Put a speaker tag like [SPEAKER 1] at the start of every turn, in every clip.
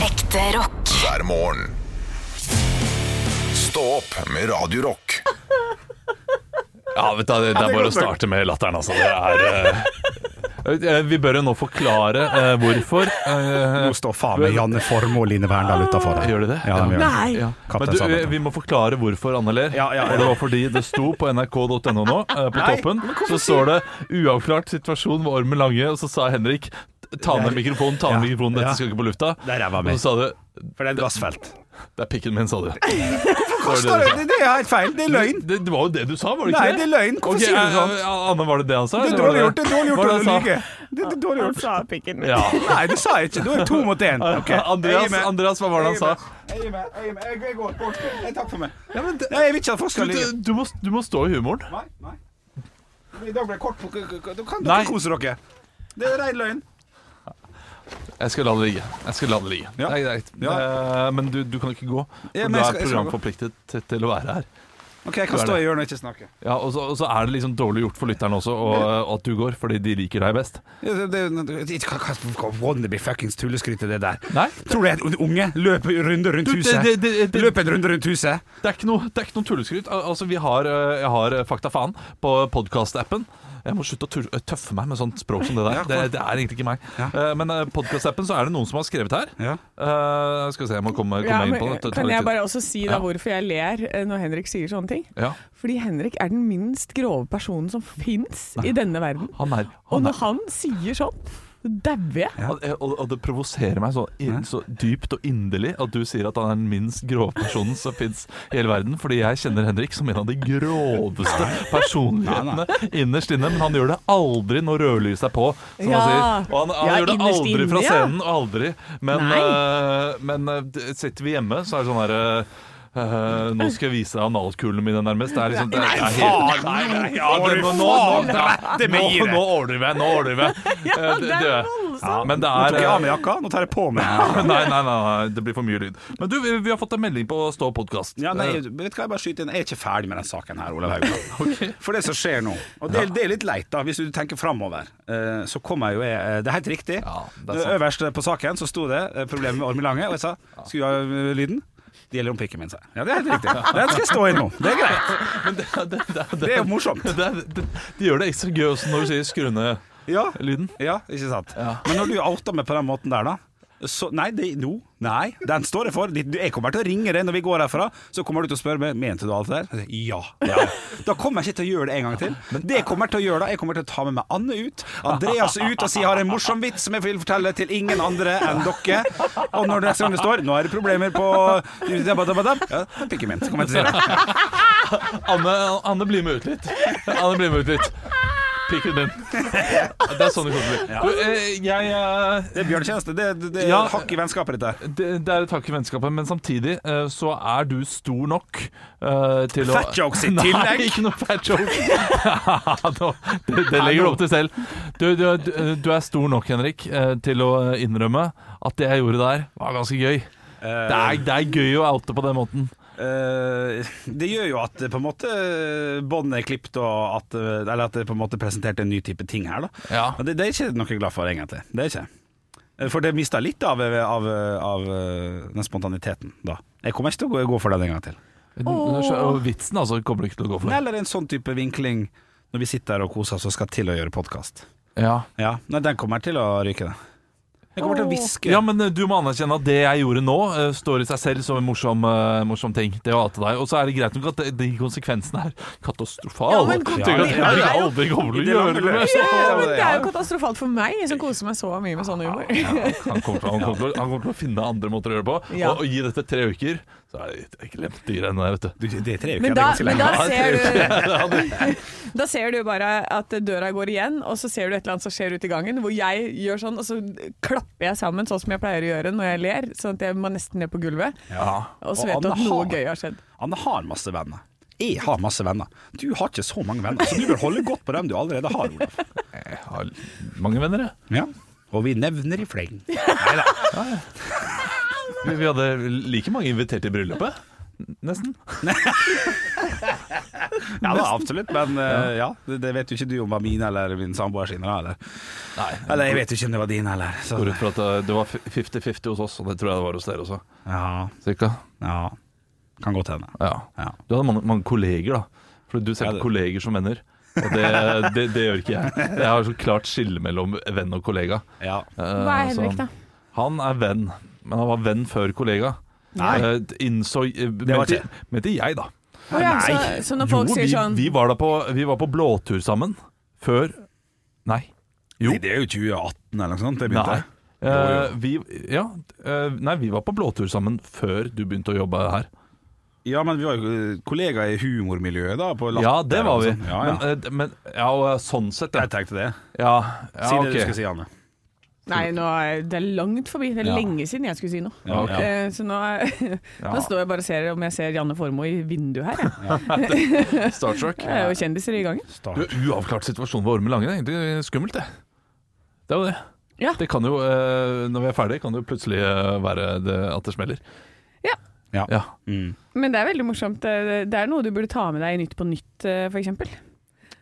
[SPEAKER 1] Ekte rock.
[SPEAKER 2] hver morgen. Stå opp med Radio Rock.
[SPEAKER 3] Ja, vet du, det, det er bare å starte med latteren, altså. Det er, eh, eh, vi bør jo nå forklare eh, hvorfor. eh,
[SPEAKER 4] Nå står faen meg Janne Formoe og Line Verndal utafor der.
[SPEAKER 3] Gjør de det?
[SPEAKER 4] Ja, de gjør det.
[SPEAKER 3] Nei. Ja. Men
[SPEAKER 4] Kaptein
[SPEAKER 3] du, eh,
[SPEAKER 4] Sabeltann.
[SPEAKER 3] vi må forklare hvorfor Anne ler.
[SPEAKER 4] Ja, ja, ja.
[SPEAKER 3] Og Det var fordi det sto på nrk.no nå, eh, på toppen, så står det 'uavklart situasjon med Ormen Lange', og så sa Henrik 'ta ned mikrofonen, ta ned
[SPEAKER 4] Ja,
[SPEAKER 3] mikrofonen,
[SPEAKER 4] ja.
[SPEAKER 3] dette skal ikke på lufta'.
[SPEAKER 4] Det er ræva
[SPEAKER 3] Og
[SPEAKER 4] mi.
[SPEAKER 3] så sa du
[SPEAKER 4] For det er et gassfelt.
[SPEAKER 3] 'det er pikken min', sa du.
[SPEAKER 4] Hva står det? Det er helt feil. Det er løgn.
[SPEAKER 3] Det, det var jo det du sa, var det ikke
[SPEAKER 4] Nei, det er løgn. Hvorfor
[SPEAKER 3] Ok,
[SPEAKER 4] sier du sånt?
[SPEAKER 3] eh, eh, Anne, var det det han sa?
[SPEAKER 4] Det er
[SPEAKER 3] eller var
[SPEAKER 4] dårlig gjort. Det er dårlig
[SPEAKER 3] var
[SPEAKER 4] gjort å
[SPEAKER 3] det han sa?
[SPEAKER 4] lyve. Det er dårlig
[SPEAKER 5] Han
[SPEAKER 4] gjort.
[SPEAKER 5] sa pikken min.
[SPEAKER 3] Ja.
[SPEAKER 4] Nei, det sa jeg ikke. Da er det to mot én. Ok. Jeg
[SPEAKER 3] Andreas,
[SPEAKER 4] gir meg.
[SPEAKER 3] Andreas, hva var det han sa?
[SPEAKER 4] Jeg gir meg. Jeg gir meg. Jeg- Jeg går bort. Jeg- Takk for meg.
[SPEAKER 3] Ja, men det-
[SPEAKER 4] Nei, jeg vil ikke at folk
[SPEAKER 3] Du,
[SPEAKER 4] skal lyve.
[SPEAKER 3] du, må, du må stå i humoren.
[SPEAKER 4] Nei, nei. I dag ble det kort på Da kan
[SPEAKER 3] Nei.
[SPEAKER 4] dere kose dere. Det er rein løgn.
[SPEAKER 3] Jeg skal la det ligge. Jeg skal la det ligge.
[SPEAKER 4] Ja.
[SPEAKER 3] Det er greit. Eh, Men du, du kan ikke gå.
[SPEAKER 4] Ja,
[SPEAKER 3] for
[SPEAKER 4] men
[SPEAKER 3] du
[SPEAKER 4] jeg
[SPEAKER 3] er
[SPEAKER 4] skal- jeg skal gå.
[SPEAKER 3] programforpliktet til- til å være her.
[SPEAKER 4] OK, jeg kan
[SPEAKER 3] Du er
[SPEAKER 4] stå i
[SPEAKER 3] det.
[SPEAKER 4] hjørnet og ikke snakke.
[SPEAKER 3] Ja, og, så, og så er det liksom dårlig gjort for lytterne også og, og at du går, fordi de liker deg best.
[SPEAKER 4] Ja, det- det- det- Hva hva- wannabe fuckings tulleskryt er det der?
[SPEAKER 3] Nei,
[SPEAKER 4] Tror du jeg er en unge? Løp en runde rundt
[SPEAKER 3] Du, det-
[SPEAKER 4] huset.
[SPEAKER 3] det- det- det-
[SPEAKER 4] Løp en runde rundt huset.
[SPEAKER 3] det er ikke noe, det er ikke noe tulleskryt. Al- Altså, vi har, eh, jeg har eh, Fakta faen på podkast-appen. Jeg må slutte å tull- eh, tøffe meg med sånt språk som det der.
[SPEAKER 4] Ja,
[SPEAKER 3] Det, det er egentlig ikke meg.
[SPEAKER 4] Ja.
[SPEAKER 3] Eh, Men podkast-appen så er det noen som har skrevet her.
[SPEAKER 4] Ja.
[SPEAKER 3] Eh, skal vi se, jeg må komme, komme
[SPEAKER 5] Ja,
[SPEAKER 3] inn på det.
[SPEAKER 5] men,
[SPEAKER 3] Det tar
[SPEAKER 5] kan
[SPEAKER 3] litt
[SPEAKER 5] jeg
[SPEAKER 3] tid.
[SPEAKER 5] bare også si da
[SPEAKER 3] Ja.
[SPEAKER 5] hvorfor jeg ler eh, når Henrik sier sånne ting?
[SPEAKER 3] ja.
[SPEAKER 5] Fordi Henrik er den minst grove personen som fins i denne verden.
[SPEAKER 3] Han er,
[SPEAKER 5] Og
[SPEAKER 3] han
[SPEAKER 5] når
[SPEAKER 3] er
[SPEAKER 5] han sier sånn, så dauer jeg.
[SPEAKER 3] Han- eh, Og, og det provoserer meg så, inn- så dypt og inderlig at du sier at han er den minst grove personen som fins i hele verden. Fordi jeg kjenner Henrik som en av de groveste personlighetene innerst inne. Men han gjør det aldri når rødlyset er på, som han sier.
[SPEAKER 5] Ja.
[SPEAKER 3] Og han, han
[SPEAKER 5] Ja,
[SPEAKER 3] gjør det
[SPEAKER 5] innerst
[SPEAKER 3] aldri
[SPEAKER 5] inne,
[SPEAKER 3] fra
[SPEAKER 5] ja.
[SPEAKER 3] scenen. Aldri. Men,
[SPEAKER 5] Nei.
[SPEAKER 3] eh, men eh, d- sitter vi hjemme, så er det sånn herre nå skal jeg vise deg analkulene mine, nærmest. Det er liksom, det er, det er helt, nei, nei, ja, det, nå, nå, nå,
[SPEAKER 4] Det må jeg gi
[SPEAKER 3] nå,
[SPEAKER 4] deg.
[SPEAKER 3] nå overdriver jeg. Nå overdriver jeg. Eh,
[SPEAKER 5] det
[SPEAKER 3] det-
[SPEAKER 5] er
[SPEAKER 3] det-
[SPEAKER 5] voldsomt.
[SPEAKER 3] ja, men det
[SPEAKER 4] Nå tok
[SPEAKER 3] er eh,
[SPEAKER 4] jeg av meg jakka, nå tar jeg på meg.
[SPEAKER 3] nei, nei, nei, nei, det blir for mye lyd. Men du, vi, vi har fått en melding på Stå Eh, podkast.
[SPEAKER 4] Ja, nei, vet du hva, jeg bare skyter inn. Jeg er ikke ferdig med den saken her, Olav Haugland. For det som skjer nå, og det, er- det er litt leit, da, hvis du tenker framover, eh, så kommer jo jeg eh, Det er helt riktig. Eh,
[SPEAKER 3] Ja, det er sant.
[SPEAKER 4] Øverst på saken så sto det eh, problemet med Ormen Lange, og jeg sa skru av eh, lyden. Det gjelder om pikken min, sa jeg. Ja, det er helt riktig. Den skal jeg stå i nå. Det er greit.
[SPEAKER 3] Men det, det, det, det,
[SPEAKER 4] Det er jo morsomt.
[SPEAKER 3] det, er- det, de gjør det ekstra gøy også når du sier 'skru ned
[SPEAKER 4] Ja.
[SPEAKER 3] lyden'.
[SPEAKER 4] Ja, ikke sant?
[SPEAKER 3] Ja.
[SPEAKER 4] Men når du outer meg på den måten der, da så, Nei, det, no, nei, den står jeg for. Du- Jeg kommer til å ringe deg når vi går herfra. Så kommer du til å spørre meg Mente du alt det der. Jeg sier, Ja. ja. Da kommer jeg ikke til å gjøre det en gang til. det jeg kommer til å gjøre da, jeg kommer til å ta med meg Anne ut, Andreas ut, og si jeg har en morsom vits som jeg vil fortelle til ingen andre enn dere. Og når neste gang det står 'Nå er det problemer på dabadabadab', ja, det er pikken min. Så kommer jeg til å si det.
[SPEAKER 3] Anne, Anne blir med ut litt. Anne blir med ut litt. Pikken din. Det er sånn det kommer til å bli. Du, eh, jeg eh,
[SPEAKER 4] Det er bjørnetjeneste. Det, det, det er
[SPEAKER 3] Ja.
[SPEAKER 4] hakk i vennskapet, dette her.
[SPEAKER 3] det, det er et takk i vennskapet, men samtidig eh, så er du stor nok eh, til å
[SPEAKER 4] Fat jokes i tillegg.
[SPEAKER 3] Nei, ikke noe fat jokes. Nå, det, det legger du opp til selv. Du, du, du, du er stor nok, Henrik, eh, til å innrømme at det jeg gjorde der, var ganske gøy. Det er, det er gøy å oute på den måten.
[SPEAKER 4] Eh, det gjør jo at eh, på en måte eh, båndet er klippet, og at, eh, eller at det på en måte presenterte en ny type ting her. Da.
[SPEAKER 3] Ja.
[SPEAKER 4] Og det, det er ikke noe jeg er glad for, egentlig. Det er ikke. Eh, For det mista litt av, av, av eh, den spontaniteten da. Jeg kommer ikke til å gå, gå for den en gang til.
[SPEAKER 3] Og vitsen altså kommer du ikke til å gå for.
[SPEAKER 4] Eller en sånn type vinkling når vi sitter her og koser oss og skal til å gjøre podkast.
[SPEAKER 3] Ja.
[SPEAKER 4] Ja, nei, den kommer til å ryke, den. Jeg kommer til å hviske.
[SPEAKER 3] ja, men eh, du må anerkjenne at det jeg gjorde nå, eh, står i seg selv som en morsom, eh, morsom ting. Det å oute deg. Og så er det greit nok at de- de konsekvensene er
[SPEAKER 5] Ja,
[SPEAKER 3] katastrofale.
[SPEAKER 5] men
[SPEAKER 3] Tenk at
[SPEAKER 5] konsekvensene er
[SPEAKER 3] Henrik
[SPEAKER 5] jo-
[SPEAKER 3] aldri kommer til
[SPEAKER 4] Det
[SPEAKER 3] å
[SPEAKER 4] var
[SPEAKER 3] gjøre det.
[SPEAKER 4] vel-
[SPEAKER 3] mer.
[SPEAKER 5] Ja, men det er
[SPEAKER 4] Ja.
[SPEAKER 5] jo katastrofalt for meg, som koser meg så mye med sånn humor.
[SPEAKER 3] Han kommer, til, han, kommer til, å- han kommer til å finne andre måter å gjøre det på.
[SPEAKER 5] Ja.
[SPEAKER 3] Og, og gi dette tre uker, så er det jeg glemt de greiene der, vet du.
[SPEAKER 4] Du, det er tre uker,
[SPEAKER 5] Men
[SPEAKER 4] det er
[SPEAKER 5] da,
[SPEAKER 4] ganske
[SPEAKER 5] men
[SPEAKER 4] lenge.
[SPEAKER 5] da ser du Da ser du bare at døra går igjen, og så ser du et eller annet som skjer ute i gangen, hvor jeg gjør sånn, og så klapper jeg sammen, sånn som jeg pleier å gjøre når jeg ler, sånn at jeg må nesten ned på gulvet. Og så
[SPEAKER 4] Og
[SPEAKER 5] vet du at
[SPEAKER 4] Anne
[SPEAKER 5] noe
[SPEAKER 4] har-
[SPEAKER 5] gøy har skjedd.
[SPEAKER 4] Anne har masse venner. Jeg har masse venner. Du har ikke så mange venner, så du bør holde godt på dem du allerede har, Olav.
[SPEAKER 3] Jeg har mange venner, jeg.
[SPEAKER 4] Ja. Og vi nevner i fleng.
[SPEAKER 3] Vi, vi hadde like mange invitert i bryllupet. Nesten.
[SPEAKER 4] Ja, da, absolutt, men eh, ja, det, det vet jo ikke du om var min eller min samboer sin. da, Eller.
[SPEAKER 3] Nei.
[SPEAKER 4] eller jeg vet jo ikke om det var din heller. Så.
[SPEAKER 3] Går ut fra at eh, det- det var 50-50 hos oss, og det tror jeg det var hos dere også.
[SPEAKER 4] Ja,
[SPEAKER 3] Cirka.
[SPEAKER 4] ja. Kan godt hende.
[SPEAKER 3] Ja.
[SPEAKER 4] Ja.
[SPEAKER 3] Du hadde mange, mange kolleger, da. For du ser
[SPEAKER 4] Ja,
[SPEAKER 3] på
[SPEAKER 4] det-
[SPEAKER 3] kolleger som venner. Og det, det, det gjør ikke jeg. Jeg har så klart skille mellom venn og kollega.
[SPEAKER 4] Ja.
[SPEAKER 3] Eh,
[SPEAKER 5] Hva er
[SPEAKER 3] så
[SPEAKER 5] Henrik, da?
[SPEAKER 3] Han er venn, men han var venn før kollega.
[SPEAKER 4] Nei.
[SPEAKER 3] Eh, innså eh,
[SPEAKER 4] var
[SPEAKER 3] mente-
[SPEAKER 4] ikke-
[SPEAKER 3] Mente jeg, da.
[SPEAKER 5] Å ja, så,
[SPEAKER 4] Nei.
[SPEAKER 5] så når folk
[SPEAKER 3] jo, vi,
[SPEAKER 5] sier sånn
[SPEAKER 3] vi, var da på, vi var på blåtur sammen før Nei. Jo.
[SPEAKER 4] Nei, det er jo 2018 eller noe sånt. Det
[SPEAKER 3] Nei.
[SPEAKER 4] begynte.
[SPEAKER 3] Eh, vi, ja, eh, nei, vi var på blåtur sammen før du begynte å jobbe her.
[SPEAKER 4] Ja, men vi var jo eh, kollegaer i humormiljøet da. På latter,
[SPEAKER 3] Ja, det var
[SPEAKER 4] og
[SPEAKER 3] vi.
[SPEAKER 4] sånn. Ja, ja.
[SPEAKER 3] Men, eh, men, ja og eh, sånn sett, ja.
[SPEAKER 4] jeg tenkte det.
[SPEAKER 3] ja,
[SPEAKER 4] Si
[SPEAKER 3] ja
[SPEAKER 4] det du
[SPEAKER 3] ok.
[SPEAKER 4] skal si, Anne.
[SPEAKER 5] Nei, nå er det er langt forbi. Det er
[SPEAKER 3] Ja.
[SPEAKER 5] lenge siden jeg skulle si noe.
[SPEAKER 4] Ja,
[SPEAKER 3] ok.
[SPEAKER 5] Eh, Så nå, nå står jeg bare og ser om jeg ser Janne Formoe i vinduet her. Jeg.
[SPEAKER 3] Star Trek.
[SPEAKER 5] Det er jo kjendiser i gangen.
[SPEAKER 3] Du, uavklart situasjon ved Ormen Lange. Det er egentlig skummelt, det. Det er jo det.
[SPEAKER 5] Ja.
[SPEAKER 3] Det kan jo, eh, når vi er ferdig, kan det jo plutselig eh, være det, at det smeller.
[SPEAKER 5] Ja.
[SPEAKER 4] Ja.
[SPEAKER 3] ja.
[SPEAKER 4] Mm.
[SPEAKER 5] Men det er veldig morsomt. eh, Det det er noe du burde ta med deg i Nytt på nytt, eh, for eksempel.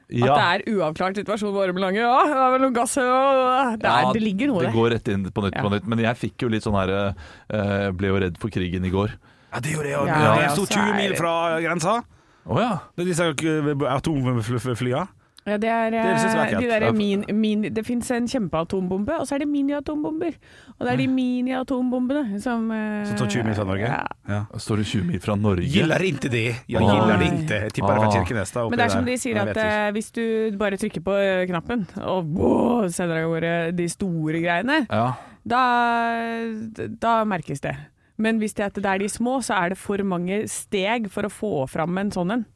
[SPEAKER 5] At
[SPEAKER 3] Ja.
[SPEAKER 5] det er uavklart situasjon ved Ormen Lange. Ja, det er vel noe gass og det, er,
[SPEAKER 3] Ja,
[SPEAKER 5] det ligger noe
[SPEAKER 3] Det
[SPEAKER 5] der.
[SPEAKER 3] går rett inn på nytt
[SPEAKER 5] Ja.
[SPEAKER 3] på nytt. Men jeg fikk jo litt sånn her eh, Jeg ble jo redd for krigen i går.
[SPEAKER 4] Ja, det gjorde jeg òg.
[SPEAKER 5] Ja,
[SPEAKER 4] Ja,
[SPEAKER 5] det
[SPEAKER 4] jeg sto
[SPEAKER 5] også
[SPEAKER 4] 20
[SPEAKER 5] er-
[SPEAKER 4] mil fra grensa.
[SPEAKER 3] Å ja.
[SPEAKER 4] Det er disse eh, atomflya.
[SPEAKER 5] Ja, det er, eh,
[SPEAKER 4] Det synes jeg er
[SPEAKER 5] de
[SPEAKER 4] ekkelt.
[SPEAKER 5] der min, min, det fins en kjempeatombombe, og så er det miniatombomber. Og det er de miniatombombene som eh,
[SPEAKER 4] Mm. Som står 20 mil fra Norge.
[SPEAKER 5] Ja.
[SPEAKER 4] Ja.
[SPEAKER 3] Står det 20 mil fra Norge?
[SPEAKER 4] Gillar inte det. Jeg
[SPEAKER 3] Ah.
[SPEAKER 4] gillar det inte. Jeg tipper det er fra
[SPEAKER 3] Ah.
[SPEAKER 4] Kirkenes. Da, oppi
[SPEAKER 5] Men det er som
[SPEAKER 4] der.
[SPEAKER 5] de sier,
[SPEAKER 4] Jeg
[SPEAKER 5] at
[SPEAKER 4] vet ikke.
[SPEAKER 5] eh, hvis du bare trykker på eh, knappen og wow, sender av gårde de store greiene,
[SPEAKER 3] Ja.
[SPEAKER 5] da, da merkes det. Men hvis det er, at det er de små, så er det for mange steg for å få fram en sånn en.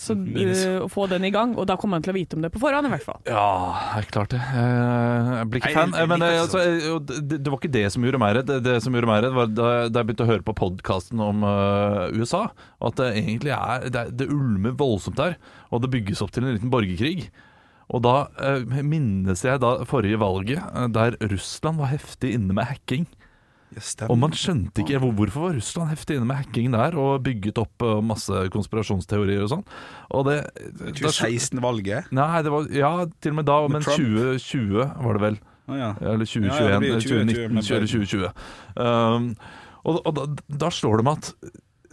[SPEAKER 5] Så
[SPEAKER 4] Minst.
[SPEAKER 5] eh, å få den i gang, og da kommer han til å vite om det på forhånd i hvert fall.
[SPEAKER 3] Ja, det er klart det. Eh, Jeg blir ikke
[SPEAKER 4] Nei,
[SPEAKER 3] fan.
[SPEAKER 4] jeg liker
[SPEAKER 3] Men eh,
[SPEAKER 4] ikke
[SPEAKER 3] altså, eh, og det, det var ikke det som gjorde meg redd. Det, det som gjorde meg redd var da, da jeg begynte å høre på podkasten om eh, USA, og at det egentlig er det, er- det ulmer voldsomt der, og det bygges opp til en liten borgerkrig. Og da eh, minnes jeg da forrige valget, eh, der Russland var heftig inne med hacking.
[SPEAKER 4] Ja, stemmer.
[SPEAKER 3] Og man skjønte ikke hvor- hvorfor var Russland heftig inne med hacking der, og bygget opp eh, masse konspirasjonsteorier og sånn. Og det, da skjø-
[SPEAKER 4] 2016-valget.
[SPEAKER 3] Nei, det var Ja, til og med da,
[SPEAKER 4] Med
[SPEAKER 3] men
[SPEAKER 4] Trump?
[SPEAKER 3] 2020 var det vel.
[SPEAKER 4] Å, ja.
[SPEAKER 3] Eller
[SPEAKER 4] Ja, ja,
[SPEAKER 3] 2021,
[SPEAKER 4] det blir jo
[SPEAKER 3] eller
[SPEAKER 4] 2020,
[SPEAKER 3] 2019,
[SPEAKER 4] men-
[SPEAKER 3] eller 2020. Um, og og da, da slår det meg at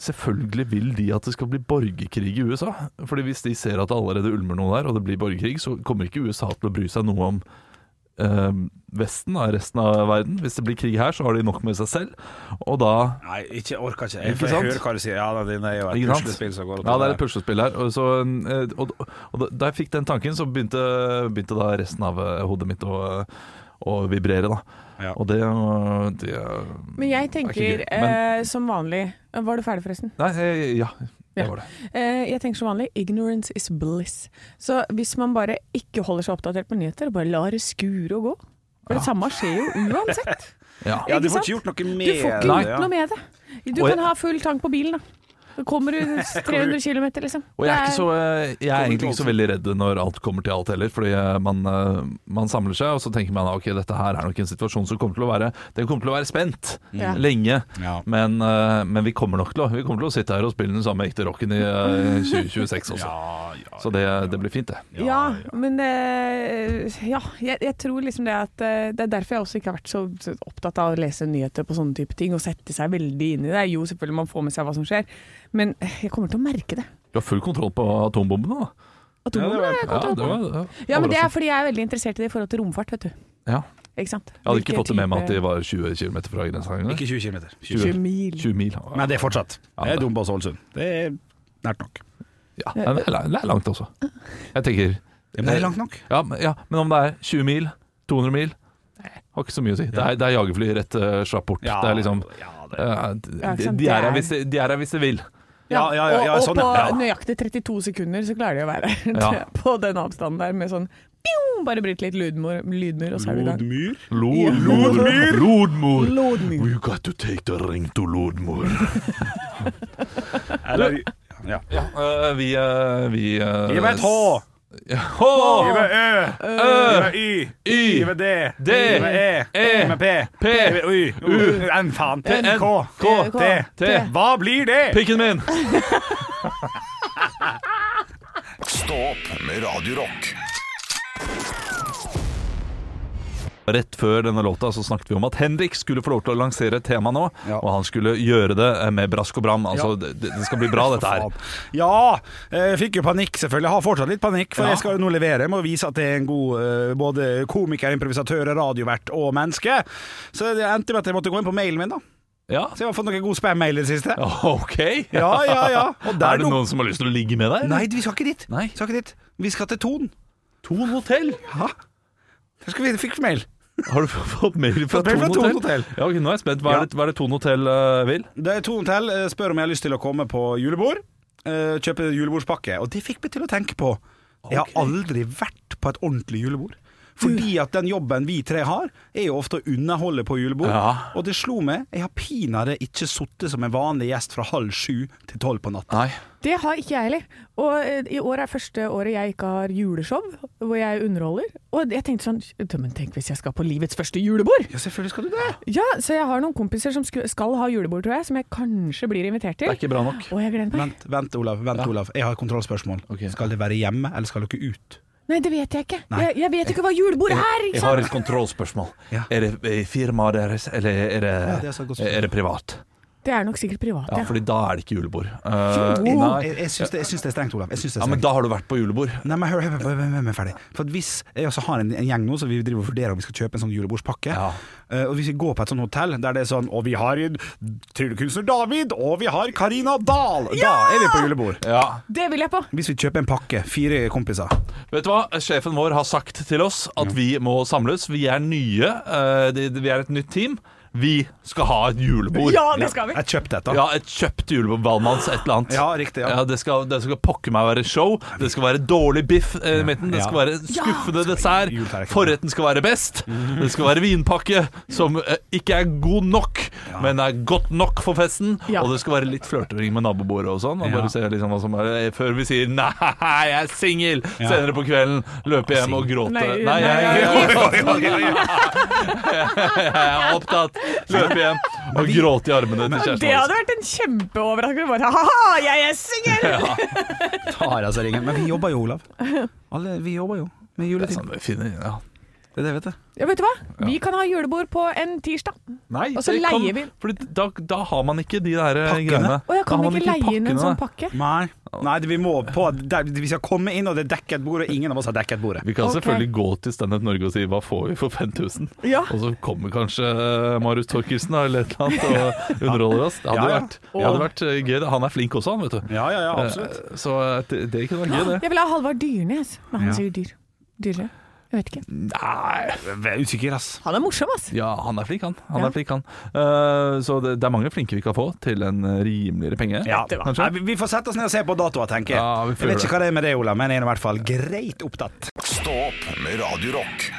[SPEAKER 3] selvfølgelig vil de at det skal bli borgerkrig i USA. Fordi hvis de ser at det allerede ulmer noe der, og det blir borgerkrig, så kommer ikke USA til å bry seg noe om um, Vesten, da, resten av verden. Hvis det blir krig her, så har de nok med seg selv. Og da
[SPEAKER 4] Nei, ikke jeg orker ikke. Jeg,
[SPEAKER 3] Ikke
[SPEAKER 4] for jeg
[SPEAKER 3] sant?
[SPEAKER 4] hører hva du sier. Ja, da, det er jo et
[SPEAKER 3] Ikke sant?
[SPEAKER 4] puslespill som går opp
[SPEAKER 3] Ja, det er
[SPEAKER 4] der.
[SPEAKER 3] et puslespill her. Og, så, eh, og, og da- da jeg fikk den tanken, så begynte, begynte da resten av eh, hodet mitt å, å vibrere. Da.
[SPEAKER 4] Ja.
[SPEAKER 3] Og det, eh, det eh,
[SPEAKER 4] Mm,
[SPEAKER 5] Men jeg tenker
[SPEAKER 3] gøy, men-
[SPEAKER 5] eh, som vanlig Var du ferdig, forresten?
[SPEAKER 3] Nei, eh, ja.
[SPEAKER 5] Ja.
[SPEAKER 3] Det var det.
[SPEAKER 5] Eh, jeg tenker som vanlig ignorance is bliss. Så hvis man bare ikke holder seg oppdatert på nyheter, bare lar det skure og gå For det samme skjer jo uansett.
[SPEAKER 3] Ja.
[SPEAKER 4] Ja, du
[SPEAKER 5] Ikke
[SPEAKER 4] får
[SPEAKER 5] sant?
[SPEAKER 4] ikke gjort noe
[SPEAKER 5] Du
[SPEAKER 4] med
[SPEAKER 5] får ikke
[SPEAKER 4] det,
[SPEAKER 5] gjort
[SPEAKER 4] ja.
[SPEAKER 5] noe med det. Du
[SPEAKER 3] eh, Og jeg-
[SPEAKER 5] kan ha full tank på bilen, da. Så kommer du 300 km, liksom.
[SPEAKER 3] Og jeg er,
[SPEAKER 5] Det
[SPEAKER 3] ikke så, eh, jeg er egentlig ikke så veldig redd når alt kommer til alt heller, fordi eh, man, eh, man samler seg og så tenker man ok, dette her er nok en situasjon som kommer til å være Den kommer til å være spent
[SPEAKER 5] Ja.
[SPEAKER 4] Mm.
[SPEAKER 3] lenge,
[SPEAKER 4] Ja.
[SPEAKER 3] men, eh, men vi kommer nok til å Vi kommer til å sitte her og spille den samme ekte rocken i eh, 2026 også.
[SPEAKER 4] Ja, ja,
[SPEAKER 3] Så det, det blir fint, det.
[SPEAKER 5] ja, men eh, Ja, jeg, jeg tror liksom det at eh, Det er derfor jeg også ikke har vært så så opptatt av å lese nyheter på sånne type ting og sette seg veldig inn i det. Jo, selvfølgelig man får med seg hva som skjer, men eh, jeg kommer til å merke det.
[SPEAKER 3] Du har full kontroll på atombombene, da.
[SPEAKER 5] Atombombene har jeg
[SPEAKER 3] Ja,
[SPEAKER 5] kontroll
[SPEAKER 3] det
[SPEAKER 5] på.
[SPEAKER 3] var, ja,
[SPEAKER 5] Ja, men det er
[SPEAKER 3] overraskende.
[SPEAKER 5] fordi jeg er veldig interessert i det i forhold til romfart, vet du.
[SPEAKER 3] ja.
[SPEAKER 5] Ikke sant?
[SPEAKER 3] Jeg hadde ikke fått det med meg at de var 20 km fra grensa engang.
[SPEAKER 4] Ikke 20 km.
[SPEAKER 3] 20.
[SPEAKER 5] 20 mil.
[SPEAKER 3] 20 mil. Ja,
[SPEAKER 4] Men det er fortsatt.
[SPEAKER 3] Ja,
[SPEAKER 4] Det
[SPEAKER 3] det-
[SPEAKER 4] er Dombås og Ålesund. Det er nært nok.
[SPEAKER 3] Ja, men det er det er langt også. Jeg tenker
[SPEAKER 4] Ja, Men det er langt nok.
[SPEAKER 3] ja, men- ja, men om det er 20 mil, 200 mil Nei, har ikke så mye å si. Det er, det er jagerfly rett eh, slapp bort.
[SPEAKER 4] Ja,
[SPEAKER 3] Det er liksom
[SPEAKER 4] ja, det-
[SPEAKER 3] eh,
[SPEAKER 5] Ja, ikke
[SPEAKER 3] de,
[SPEAKER 5] sant,
[SPEAKER 3] de er
[SPEAKER 5] det
[SPEAKER 3] her
[SPEAKER 5] er-
[SPEAKER 3] hvis de, de er her hvis de vil.
[SPEAKER 4] Ja, ja, ja, ja,
[SPEAKER 5] og, og
[SPEAKER 4] sånn,
[SPEAKER 5] på
[SPEAKER 4] ja.
[SPEAKER 5] nøyaktig 32 sekunder så klarer de å være
[SPEAKER 3] Ja.
[SPEAKER 5] på den avstanden der med sånn pjong, bare bryte litt lydmur, lydmur, og så er du i gang.
[SPEAKER 4] Lodmyr?
[SPEAKER 3] Lodmor! Lodmor!
[SPEAKER 5] Lodmur.
[SPEAKER 3] You got to take the ring to Lodmor.
[SPEAKER 4] Eller Ja.
[SPEAKER 3] Ja, eh, vi eh, Vi eh,
[SPEAKER 4] Gi meg et H!
[SPEAKER 3] Ja. H,
[SPEAKER 4] Gi meg Ø,
[SPEAKER 3] Ø,
[SPEAKER 4] gi meg Y,
[SPEAKER 3] Y,
[SPEAKER 4] gi meg D,
[SPEAKER 3] D,
[SPEAKER 4] gi meg E,
[SPEAKER 3] E,
[SPEAKER 4] gi meg P,
[SPEAKER 3] P,
[SPEAKER 4] gi meg U, U, N, faen, N, K, K, T,
[SPEAKER 3] T.
[SPEAKER 4] Hva blir det?
[SPEAKER 3] Pikken min!
[SPEAKER 2] Stå opp med Radio Rock.
[SPEAKER 3] Rett før denne låta så snakket vi om at Henrik skulle få lov til å lansere et tema nå.
[SPEAKER 4] Ja.
[SPEAKER 3] Og han skulle gjøre det eh, med brask og bram. Altså, det, det skal bli bra, dette her.
[SPEAKER 4] Ja, jeg fikk jo panikk selvfølgelig. Jeg har fortsatt litt panikk, for
[SPEAKER 3] Ja.
[SPEAKER 4] jeg skal jo nå levere. Jeg må vise at jeg er en god eh, både komiker, improvisatør, radiovert og menneske. Så det endte med at jeg måtte gå inn på mailen min, da.
[SPEAKER 3] Ja,
[SPEAKER 4] Så jeg har fått noen gode spam-mail i det siste.
[SPEAKER 3] ok.
[SPEAKER 4] Ja, ja, ja. Og der
[SPEAKER 3] er det
[SPEAKER 4] duk-
[SPEAKER 3] noen som har lyst til å ligge med deg?
[SPEAKER 4] Nei, vi skal ikke dit.
[SPEAKER 3] Nei.
[SPEAKER 4] Vi Skal ikke dit. Vi skal til Ton.
[SPEAKER 3] Ton hotell!
[SPEAKER 4] Ja. Der skal vi fikk mail.
[SPEAKER 3] Har du fått mail fra
[SPEAKER 4] Fått mail
[SPEAKER 3] Ton
[SPEAKER 4] fra Thon
[SPEAKER 3] hotell?
[SPEAKER 4] Hotel.
[SPEAKER 3] Ja, ok, nå er jeg spent. Hva
[SPEAKER 4] Ja.
[SPEAKER 3] er det, hva er det Ton hotell eh, vil?
[SPEAKER 4] Det er Ton Hotell eh, spør om jeg har lyst til å komme på julebord. eh, Kjøpe julebordspakke. Og det fikk meg til å tenke på. Jeg har aldri vært på et ordentlig julebord. Fordi at den jobben vi tre har, er jo ofte å underholde på julebord.
[SPEAKER 3] Ja.
[SPEAKER 4] Og det slo meg, jeg har pinadø ikke sittet som en vanlig gjest fra halv sju til tolv på natta.
[SPEAKER 3] Nei.
[SPEAKER 5] Det har ikke jeg heller. Og eh, i år er første året jeg ikke har juleshow, hvor jeg underholder. Og jeg tenkte sånn Men tenk hvis jeg skal på livets første julebord!
[SPEAKER 4] Ja, selvfølgelig skal du det!
[SPEAKER 5] Ja, så jeg har noen kompiser som sku- skal ha julebord, tror jeg, som jeg kanskje blir invitert
[SPEAKER 3] Det
[SPEAKER 5] til.
[SPEAKER 3] er ikke bra nok.
[SPEAKER 5] Og jeg gleder meg.
[SPEAKER 4] Vent, vent Olav. vent Olav Jeg har et kontrollspørsmål.
[SPEAKER 3] Ok.
[SPEAKER 4] Skal det være hjemme, eller skal dere ut?
[SPEAKER 5] Nei, det vet jeg ikke.
[SPEAKER 4] Nei.
[SPEAKER 5] Jeg, jeg vet ikke hva julebord er!
[SPEAKER 3] Jeg
[SPEAKER 5] ikke
[SPEAKER 3] har
[SPEAKER 5] sant?
[SPEAKER 3] et kontrollspørsmål.
[SPEAKER 4] Ja.
[SPEAKER 3] Er det eh, firmaet deres, eller er det,
[SPEAKER 4] Ja, det er så godt spørsmål.
[SPEAKER 3] er det privat?
[SPEAKER 5] Det er nok sikkert privat.
[SPEAKER 3] Ja,
[SPEAKER 5] Ja,
[SPEAKER 3] fordi da er det ikke julebord. Eh,
[SPEAKER 4] Jeg,
[SPEAKER 3] nei.
[SPEAKER 4] jeg, jeg syns det, jeg syns det er strengt, Olav. Jeg syns det er
[SPEAKER 3] Ja, men
[SPEAKER 4] strengt.
[SPEAKER 3] da har du vært på julebord.
[SPEAKER 4] Nei, men hør, hør, hør, hør, hør, hør ferdig. For at hvis jeg også har en, en gjeng nå, så vi driver og vurderer om vi skal kjøpe en sånn julebordspakke.
[SPEAKER 3] Ja.
[SPEAKER 4] Eh, og hvis vi går på et sånt hotell der det er sånn Og vi har en tryllekunstner David, og vi har Karina Dahl! Da er vi på julebord.
[SPEAKER 3] Ja,
[SPEAKER 5] Det vil jeg på!
[SPEAKER 4] Hvis vi kjøper en pakke, fire kompiser.
[SPEAKER 3] Vet du hva? Sjefen vår har sagt til oss at vi må samles. Vi er nye. eh, det- det- Vi er et nytt team. Vi skal ha et julebord.
[SPEAKER 5] Ja, det skal vi!
[SPEAKER 4] Jeg kjøpte et, da.
[SPEAKER 3] Ja, et kjøpt julebord. Valmanns et eller annet.
[SPEAKER 4] Ja, riktig, ja.
[SPEAKER 3] det, skal, det skal pokker meg være show. Det skal være dårlig biff eh, i midten. Det
[SPEAKER 4] Ja.
[SPEAKER 3] skal være skuffende dessert.
[SPEAKER 4] juletallerken.
[SPEAKER 3] Forretten skal være best. Det skal være vinpakke som eh, ikke er god nok, men er godt nok for festen.
[SPEAKER 5] Ja.
[SPEAKER 3] Og det skal være litt flørtering med nabobordet og sånn. Og
[SPEAKER 4] Ja.
[SPEAKER 3] bare se liksom hva som er Før vi sier 'nei, jeg er singel',
[SPEAKER 4] Ja.
[SPEAKER 3] senere på kvelden løpe hjem og gråte.
[SPEAKER 5] Nei,
[SPEAKER 3] Nei,
[SPEAKER 5] nei,
[SPEAKER 3] jeg, jeg,
[SPEAKER 5] nei,
[SPEAKER 3] jeg er opptatt. Løpe hjem og gråte i armene til
[SPEAKER 5] Det
[SPEAKER 3] kjæresten.
[SPEAKER 5] hadde vært en kjempeoverraskelse. Bare ha-ha, jeg er singel!
[SPEAKER 4] Tar altså ringen. Men vi jobber jo, Olav. Alle, vi jobber jo
[SPEAKER 3] Det
[SPEAKER 4] med
[SPEAKER 3] er
[SPEAKER 4] juletid.
[SPEAKER 3] sånn vi finner, ja.
[SPEAKER 4] Det er det, vet du.
[SPEAKER 5] Ja, vet du hva? Vi kan ha julebord på en tirsdag.
[SPEAKER 3] Nei,
[SPEAKER 5] Og så
[SPEAKER 3] det kan-
[SPEAKER 5] leier vi-
[SPEAKER 3] Fordi da, da har man ikke de der eh,
[SPEAKER 4] Pakkene?
[SPEAKER 3] greiene. Da
[SPEAKER 5] Og jeg
[SPEAKER 3] har
[SPEAKER 5] kan
[SPEAKER 3] man
[SPEAKER 5] ikke leie inn en
[SPEAKER 3] pakkene,
[SPEAKER 5] sånn
[SPEAKER 3] da.
[SPEAKER 5] pakke.
[SPEAKER 4] Nei, Nei det, vi må på der, Vi skal komme inn, og det er dekket bord, og ingen av oss har dekket bordet.
[SPEAKER 3] Vi kan
[SPEAKER 5] Ok.
[SPEAKER 3] selvfølgelig gå til Standup Norge og si 'hva får vi for 5000'?
[SPEAKER 5] Ja.
[SPEAKER 3] Og så kommer kanskje eh, Marius Torkelsen da, eller et eller annet og underholder oss. Det hadde,
[SPEAKER 4] Ja, ja.
[SPEAKER 3] Vært, det hadde vært eh, gøy. Han er flink også, han, vet du.
[SPEAKER 4] Ja, ja, ja, absolutt.
[SPEAKER 3] Eh, Så eh, det, det kunne vært gøy, det.
[SPEAKER 5] Ah, Jeg vil ha Halvard Dyrnes, men han
[SPEAKER 4] Ja.
[SPEAKER 5] sier dyr. Dyrere. Jeg vet ikke.
[SPEAKER 3] Nei
[SPEAKER 4] Jeg er Eh, usikker, ass.
[SPEAKER 5] Han er morsom, ass.
[SPEAKER 3] Ja, han er flink, han. han,
[SPEAKER 5] Ja.
[SPEAKER 3] er flink, han. Eh, så det, det er mange flinke vi kan få til en eh, rimeligere penge.
[SPEAKER 4] Ja. Nei,
[SPEAKER 3] Kanskje?
[SPEAKER 4] vi- vi får sette oss ned og se på datoer, tenker jeg.
[SPEAKER 3] Ja, vi får
[SPEAKER 4] jeg vet
[SPEAKER 3] gjøre
[SPEAKER 4] ikke hva det er med det, Ola, men jeg er i hvert fall greit opptatt.
[SPEAKER 2] Stå opp med Radio Rock.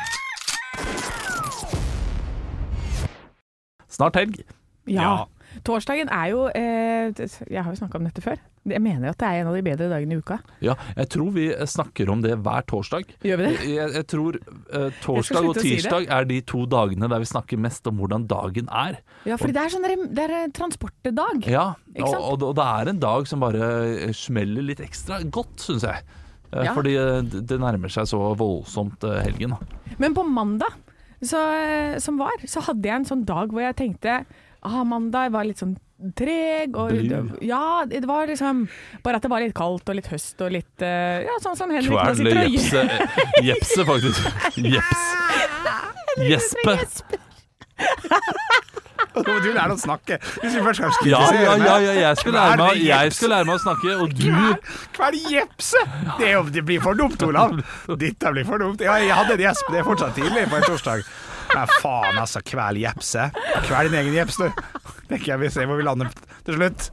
[SPEAKER 3] Snart helg.
[SPEAKER 5] Ja. Torsdagen er jo eh, Jeg har jo snakka om dette før. Jeg mener at det er en av de bedre dagene i uka.
[SPEAKER 3] Ja, jeg tror vi eh, snakker om det hver torsdag.
[SPEAKER 5] Gjør vi det?
[SPEAKER 3] Jeg, jeg tror eh, torsdag
[SPEAKER 5] slutte
[SPEAKER 3] og
[SPEAKER 5] å si det.
[SPEAKER 3] tirsdag er de to dagene der vi snakker mest om hvordan dagen er.
[SPEAKER 5] Ja, fordi det er sånn der- det er transportdag.
[SPEAKER 3] Ja,
[SPEAKER 5] Ikke
[SPEAKER 3] og,
[SPEAKER 5] sant?
[SPEAKER 3] og, og det er en dag som bare eh, smeller litt ekstra godt, syns jeg. Eh,
[SPEAKER 5] Ja.
[SPEAKER 3] Fordi eh, d- det nærmer seg så voldsomt eh, helgen. da.
[SPEAKER 5] Men på mandag, så, eh, som var, så hadde jeg en sånn dag hvor jeg tenkte ah, mandag var litt sånn treg. Og,
[SPEAKER 3] Blid.
[SPEAKER 5] ja, det var liksom Bare at det var litt kaldt og litt høst og litt eh, Ja, sånn som Henrik nå
[SPEAKER 3] Kvernle
[SPEAKER 5] sitter og
[SPEAKER 3] Jepse, eh, Jepse faktisk. Jeps. Gjespe.
[SPEAKER 4] Du lærer å snakke hvis vi først skal
[SPEAKER 3] Ja, ja, ja, ja,
[SPEAKER 4] kritisere.
[SPEAKER 3] jeg skal lære meg,
[SPEAKER 4] Kvernle
[SPEAKER 3] jeg
[SPEAKER 4] Jepse.
[SPEAKER 3] skal lære meg å snakke, og du
[SPEAKER 4] Hva er det jepse? Det, er jo- det blir for dumt, Olav. Dette blir for dumt. Ja, jeg hadde en gjesp, det er fortsatt tidlig på en torsdag. Men faen, altså. Kvel jepse. Kvel din egen jeps, du. Tenker jeg vi ser hvor vi lander til slutt.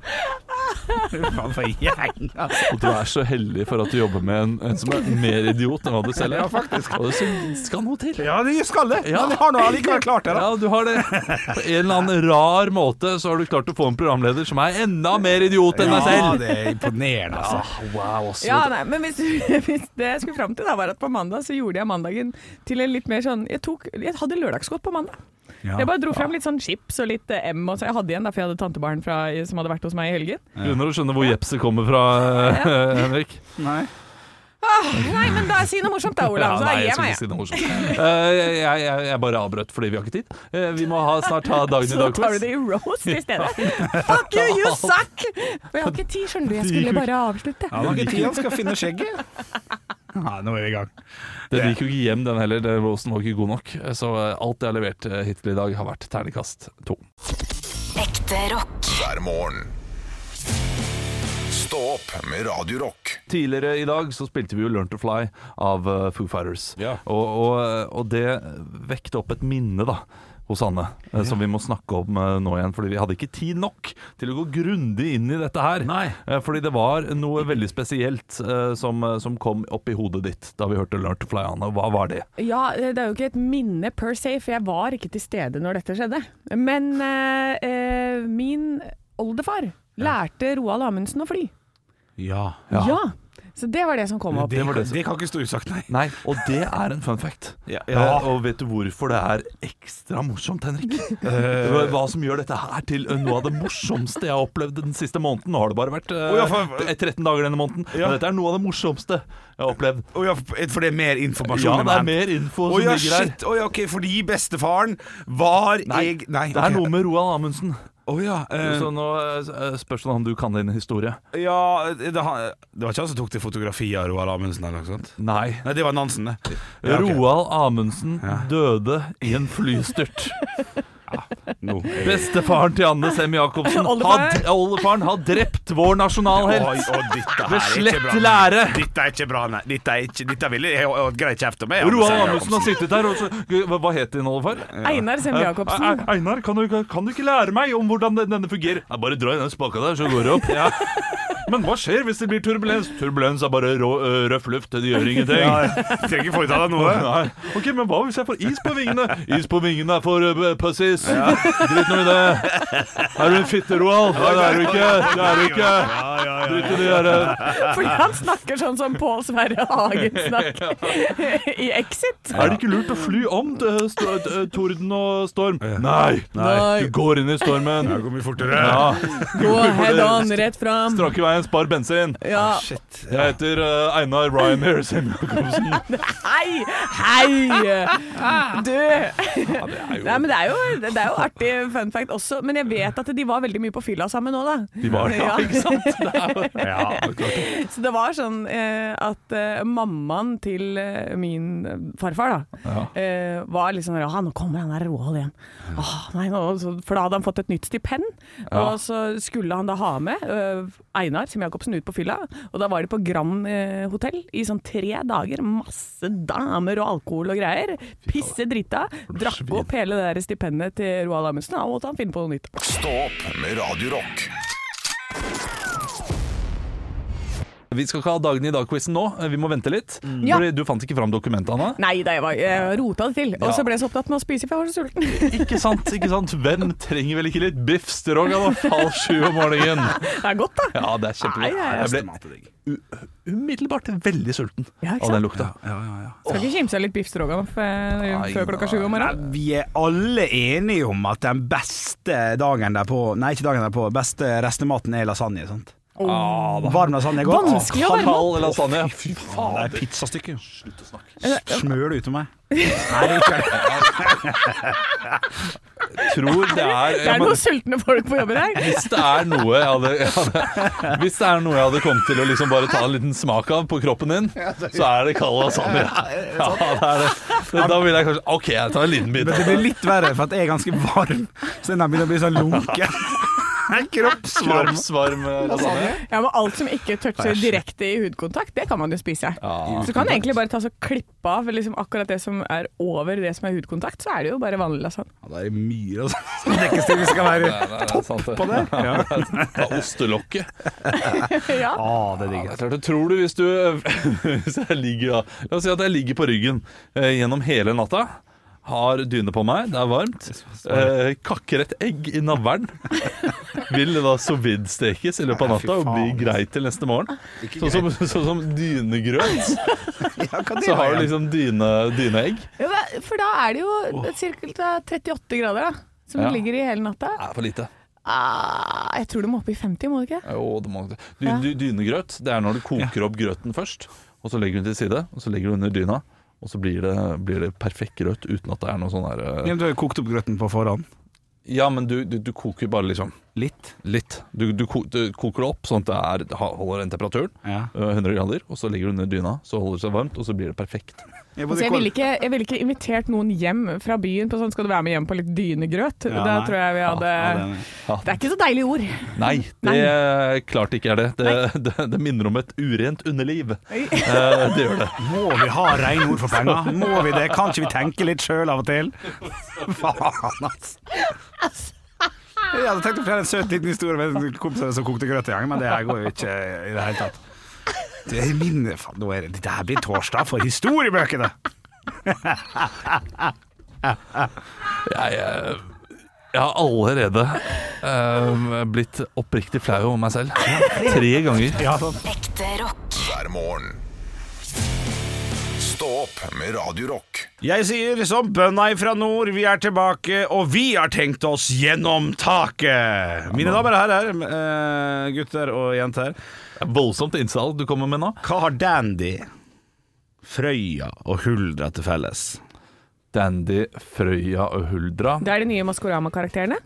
[SPEAKER 4] Faen for en gjeng, altså.
[SPEAKER 3] Og du er så heldig for at du jobber med en, en som er mer idiot enn hva du selv er. Ja, faktisk. Og det sy- skal noe til.
[SPEAKER 4] Ja, de skal det! Ja, de har nå allikevel klart det, da.
[SPEAKER 3] Ja, du har det. På en eller annen rar måte så har du klart å få en programleder som er enda mer idiot enn deg
[SPEAKER 4] Ja,
[SPEAKER 3] selv.
[SPEAKER 4] det er imponerende, altså.
[SPEAKER 3] Wow, også.
[SPEAKER 5] Ja, nei, men hvis, hvis det jeg skulle fram til, da, var at på mandag så gjorde jeg mandagen til en litt mer sånn Jeg, tok, jeg hadde lørdagsgodt på mandag.
[SPEAKER 4] Ja.
[SPEAKER 5] Jeg bare dro fram litt sånn chips og litt eh, M, og så jeg hadde igjen da, for jeg hadde tantebarn fra, som hadde vært hos meg i helgen.
[SPEAKER 3] Begynner å skjønne hvor jepset kommer fra, Henrik.
[SPEAKER 4] Nei.
[SPEAKER 5] Nei, men da si noe morsomt da, Olav. Så
[SPEAKER 3] nei,
[SPEAKER 5] gir
[SPEAKER 3] jeg
[SPEAKER 5] jeg
[SPEAKER 3] skulle
[SPEAKER 5] meg.
[SPEAKER 3] ikke si noe morsomt. Eh, jeg, jeg, jeg bare avbrøt fordi vi har ikke tid. Eh, vi må ha, snart ha dagen i
[SPEAKER 5] Så tar du
[SPEAKER 3] dag-quiz.
[SPEAKER 5] det i roast i stedet. Fuck you, you suck! For jeg har ikke tid, skjønner du. Jeg skulle bare avslutte.
[SPEAKER 4] Han har ikke tid, han skal finne skjegget. Ja, nå er vi i gang.
[SPEAKER 3] Den gikk jo ikke hjem, den heller. Den roasten var ikke god nok. Eh, Så eh, alt jeg har levert eh, hittil i dag, har vært terningkast to.
[SPEAKER 1] Ekte rock.
[SPEAKER 2] hver morgen. Stå opp med Radio Rock.
[SPEAKER 3] Tidligere i dag så spilte vi jo Learn to Fly av eh, Foo Fighters.
[SPEAKER 4] Ja.
[SPEAKER 3] Og, og, og det vekte opp et minne da hos Anne, eh, som vi må snakke om eh, nå igjen. Fordi vi hadde ikke tid nok til å gå grundig inn i dette her.
[SPEAKER 4] Nei.
[SPEAKER 3] Eh, Fordi det var noe veldig spesielt eh, som, eh, som kom opp i hodet ditt da vi hørte Learn to Fly, Anne. Hva var det?
[SPEAKER 5] Ja, det er jo ikke et minne per se, for jeg var ikke til stede når dette skjedde. Men eh, eh, min oldefar lærte Roald Amundsen å fly.
[SPEAKER 4] Ja.
[SPEAKER 5] Ja. Så det var det som kom opp.
[SPEAKER 4] Det,
[SPEAKER 3] var det som-
[SPEAKER 4] det kan ikke stå usagt, nei.
[SPEAKER 3] Nei, og det er en fun fact.
[SPEAKER 4] Ja, ja.
[SPEAKER 3] Eh, og vet du hvorfor det er ekstra morsomt, Henrik? Hva- Hva som gjør dette her til noe av det morsomste jeg har opplevd den siste måneden? Nå har det bare vært eh,
[SPEAKER 4] Å, ja, for-
[SPEAKER 3] t- 13 dager denne måneden,
[SPEAKER 4] Ja.
[SPEAKER 3] men dette er noe av det morsomste jeg har opplevd.
[SPEAKER 4] Å ja, for det er mer informasjon?
[SPEAKER 3] Ja,
[SPEAKER 4] jeg må
[SPEAKER 3] det er
[SPEAKER 4] hente.
[SPEAKER 3] mer info
[SPEAKER 4] Å
[SPEAKER 3] som
[SPEAKER 4] ja,
[SPEAKER 3] ligger der.
[SPEAKER 4] shit. Å ja, ok, fordi bestefaren var jeg Nei,
[SPEAKER 3] Det er
[SPEAKER 4] ok.
[SPEAKER 3] noe med Roald Amundsen.
[SPEAKER 4] Å ja. eh,
[SPEAKER 3] Så nå eh, spørs det om du kan din historie.
[SPEAKER 4] sånn- ja det, han- det var ikke han som tok det fotografiet av Roald Amundsen eller noe sånt?
[SPEAKER 3] Nei.
[SPEAKER 4] Nei, det var Nansen, det. Ja, ok.
[SPEAKER 3] Roald Amundsen
[SPEAKER 4] Ja.
[SPEAKER 3] døde i en flystyrt.
[SPEAKER 4] Nå.
[SPEAKER 3] Bestefaren til Anne Sem-Jacobsen,
[SPEAKER 5] Oldefar.
[SPEAKER 3] har- oldefaren, har drept vår nasjonalhelt.
[SPEAKER 4] Oi, å, dette her
[SPEAKER 3] Med
[SPEAKER 4] er ikke
[SPEAKER 3] slett
[SPEAKER 4] bra.
[SPEAKER 3] lære.
[SPEAKER 4] Dette er ikke bra, nei. Dette, er ikke, dette vil jeg ha greit kjeft om. jeg,
[SPEAKER 3] Roald
[SPEAKER 4] Anders
[SPEAKER 3] Amundsen har
[SPEAKER 4] Jacobsen.
[SPEAKER 3] sittet der og så Hva- Hva het din oldefar?
[SPEAKER 5] Einar Sem-Jacobsen.
[SPEAKER 3] Eh, Einar, kan du, ikke- kan du ikke lære meg om hvordan den- denne fungerer? Ja, bare dra i den spaka der, så går det opp. Men hva skjer hvis det blir turbulens? Turbulens er bare rå, ø, røff luft, det gjør ingenting.
[SPEAKER 4] Ja, jeg trenger ikke foreta deg noe.
[SPEAKER 3] Nei. Ok, men hva hvis jeg får is på vingene? Is på vingene er for ø, pussies. Drit nå i det. Er du en fitte, Roald? Nei, det er du ikke. Det er du ikke.
[SPEAKER 4] Ja, ja, ja.
[SPEAKER 3] Drit i det der.
[SPEAKER 5] Fordi han snakker sånn som Pål Sverre Hagen snakker i Exit.
[SPEAKER 3] Er det ikke lurt å fly om ø, st- ø, torden og storm? Nei.
[SPEAKER 5] Nei.
[SPEAKER 3] Du går inn i
[SPEAKER 4] Ja,
[SPEAKER 3] stormen.
[SPEAKER 4] Gå mye fortere.
[SPEAKER 3] Ja.
[SPEAKER 5] Gå head on, rett fram.
[SPEAKER 3] Strak i veien, spar bensin.
[SPEAKER 5] Ja.
[SPEAKER 4] Shit.
[SPEAKER 3] Jeg heter eh, Einar Ryanair Sem-Jacobsen.
[SPEAKER 5] Hei! Hei! Du! Nei, men det er, jo, det er jo artig fun fact også, men jeg vet at de var veldig mye på fylla sammen nå, da.
[SPEAKER 3] De var det, ja,
[SPEAKER 5] Ja.
[SPEAKER 3] ikke sant? Det er jo-
[SPEAKER 4] Ja, klart.
[SPEAKER 5] Så det var sånn eh, at eh, mammaen til eh, min farfar, da, eh, var litt sånn Ja, nå kommer han der Roald igjen. Åh, nei, nå, så, for da hadde han fått et nytt stipend, og så skulle han da ha med eh, Einar Sem-Jacobsen ut på fylla, og da var de på Grand eh, hotell i sånn tre dager. Masse damer og alkohol og greier. Pisse drita. Drakk opp hele det der stipendet til Roald Amundsen, da måtte han finne på noe nytt.
[SPEAKER 2] Stå opp med Radio Rock
[SPEAKER 3] Vi skal ikke ha dagen i dag-quizen nå, eh, vi må vente litt.
[SPEAKER 5] Ja.
[SPEAKER 3] Fordi du fant ikke fram dokumentet, Anna.
[SPEAKER 5] Nei da, jeg, var- jeg rota det til. Og så ble jeg så opptatt med å spise, for jeg var så sulten.
[SPEAKER 3] Ikke sant? ikke sant? Hvem trenger vel ikke litt biff stroga da? Halv sju om morgenen.
[SPEAKER 5] Det er godt, da.
[SPEAKER 3] Ja, det er
[SPEAKER 5] Nei, ja, ja.
[SPEAKER 3] kjempegodt. Jeg ble umiddelbart veldig sulten
[SPEAKER 5] Ja, ikke
[SPEAKER 3] av den lukta.
[SPEAKER 4] Ja, ja, ja.
[SPEAKER 5] Skal ikke kimse av litt biff stroganoff eh, før klokka sju om morgenen?
[SPEAKER 4] Nei, vi er alle enige om at den beste dagen derpå Nei, ikke dagen derpå. Beste restematen er lasagne. sant? Varm lasagne er godt.
[SPEAKER 5] Vanskelig å varme opp.
[SPEAKER 3] Ah, Halal lasagne. Fy
[SPEAKER 4] Ah,
[SPEAKER 3] faen.
[SPEAKER 4] Det er pizzastykke.
[SPEAKER 3] Slutt å snakke.
[SPEAKER 4] Smører du ut til meg? Nei, det er ikke det.
[SPEAKER 3] Tror det er
[SPEAKER 5] Det er noen sultne folk på jobben her.
[SPEAKER 3] Hvis det er noe jeg hadde, jeg hadde Hvis det er noe jeg hadde kommet til å liksom bare ta en liten smak av på kroppen din, så er det kald lasagne. Ja, det er det. Men Da vil jeg kanskje OK, jeg tar en liten bit.
[SPEAKER 4] Men det blir litt verre, for at jeg er ganske varm. Så den begynner å bli sånn lunken. Kroppsvarm.
[SPEAKER 3] Kroppsvarm eh, lasagne.
[SPEAKER 5] Ja, men alt som ikke toucher
[SPEAKER 4] Æsj.
[SPEAKER 5] direkte i hudkontakt, det kan man jo spise. Så du kan egentlig bare ta så klippe av liksom akkurat det som er over det som er hudkontakt, så er det jo bare vanlig altså. lasagne.
[SPEAKER 4] Ja, det er myr og sånn som dekkes til hvis det skal være
[SPEAKER 3] Topp
[SPEAKER 4] på det. Ja.
[SPEAKER 3] Ta ostelokket.
[SPEAKER 5] ja.
[SPEAKER 4] Ah, det digger
[SPEAKER 3] Det er klart, tror du hvis du hvis jeg ligger, da- La oss si at jeg ligger på ryggen eh, gjennom hele natta. Har dyne på meg, det er varmt. Eh, kakker et egg i navlen. Vil det da sous vide-stekes i løpet av
[SPEAKER 4] Nei, fy
[SPEAKER 3] natta og bli
[SPEAKER 4] faen,
[SPEAKER 3] greit til neste morgen. Sånn som, sånn som dynegrøt.
[SPEAKER 4] jeg. Ja, hva det
[SPEAKER 3] Så har
[SPEAKER 4] var
[SPEAKER 3] du
[SPEAKER 4] igjen?
[SPEAKER 3] liksom dyne, dyneegg.
[SPEAKER 5] Ja, da- For da er det jo ca. 38 grader, da. Som
[SPEAKER 3] Ja.
[SPEAKER 5] ligger i hele natta.
[SPEAKER 3] Det er for lite.
[SPEAKER 5] Ah, jeg tror du må opp i 50, må du ikke?
[SPEAKER 3] Jo, det må, du,
[SPEAKER 5] Ja.
[SPEAKER 3] du, dynegrøt, det er når du koker opp grøten først, og så legger du den til side, og så legger du under dyna, og så blir det, blir det perfekt grøt uten at det er noe sånn her eh,
[SPEAKER 4] Ja, men Du har jo kokt opp grøten på forhånd.
[SPEAKER 3] Ja, men du, du, du koker bare liksom
[SPEAKER 4] Litt.
[SPEAKER 3] litt. Du, du, ko- du koker det opp sånn at det er, det ha- holder den temperaturen,
[SPEAKER 4] Ja.
[SPEAKER 3] eh, 100 grader, og så legger du under dyna, så holder det seg varmt, og så blir det perfekt.
[SPEAKER 5] Altså, jeg ville ikke, jeg ville ikke invitert noen hjem fra byen på sånn 'skal du være med hjem på litt dynegrøt'?
[SPEAKER 4] Ja,
[SPEAKER 5] da
[SPEAKER 4] nei.
[SPEAKER 5] tror jeg vi hadde
[SPEAKER 3] Ja.
[SPEAKER 5] Det er ikke så deilige ord.
[SPEAKER 3] Nei, det klart ikke er det. Det, det. det minner om et urent underliv.
[SPEAKER 5] Oi.
[SPEAKER 3] Eh, det gjør det.
[SPEAKER 4] Må vi ha rene ord for penger? Må vi det? Kan ikke vi tenke litt sjøl av og til? Faen, ass. Jeg hadde tenkt å fortelle en søt liten historie med en kompis av meg som kokte grøt i gang, men det her går jo ikke i det hele tatt. Det er min Faen, nå er det Dette her blir torsdag for historiebøkene!
[SPEAKER 3] Jeg, eh, jeg har allerede eh, blitt oppriktig flau over meg selv. Tre ganger.
[SPEAKER 4] Ja, sånn.
[SPEAKER 1] Ekte rock.
[SPEAKER 2] hver morgen. Stå opp med Radio Rock.
[SPEAKER 4] Jeg sier som bønda ifra nord, vi er tilbake, og vi har tenkt oss gjennom taket! Mine damer og herrer, eh, gutter og jenter.
[SPEAKER 3] Voldsomt innsalg du kommer med nå.
[SPEAKER 4] Hva har Dandy, Frøya og Huldra til felles?
[SPEAKER 3] Dandy, Frøya og Huldra.
[SPEAKER 5] Det er de nye Maskorama-karakterene.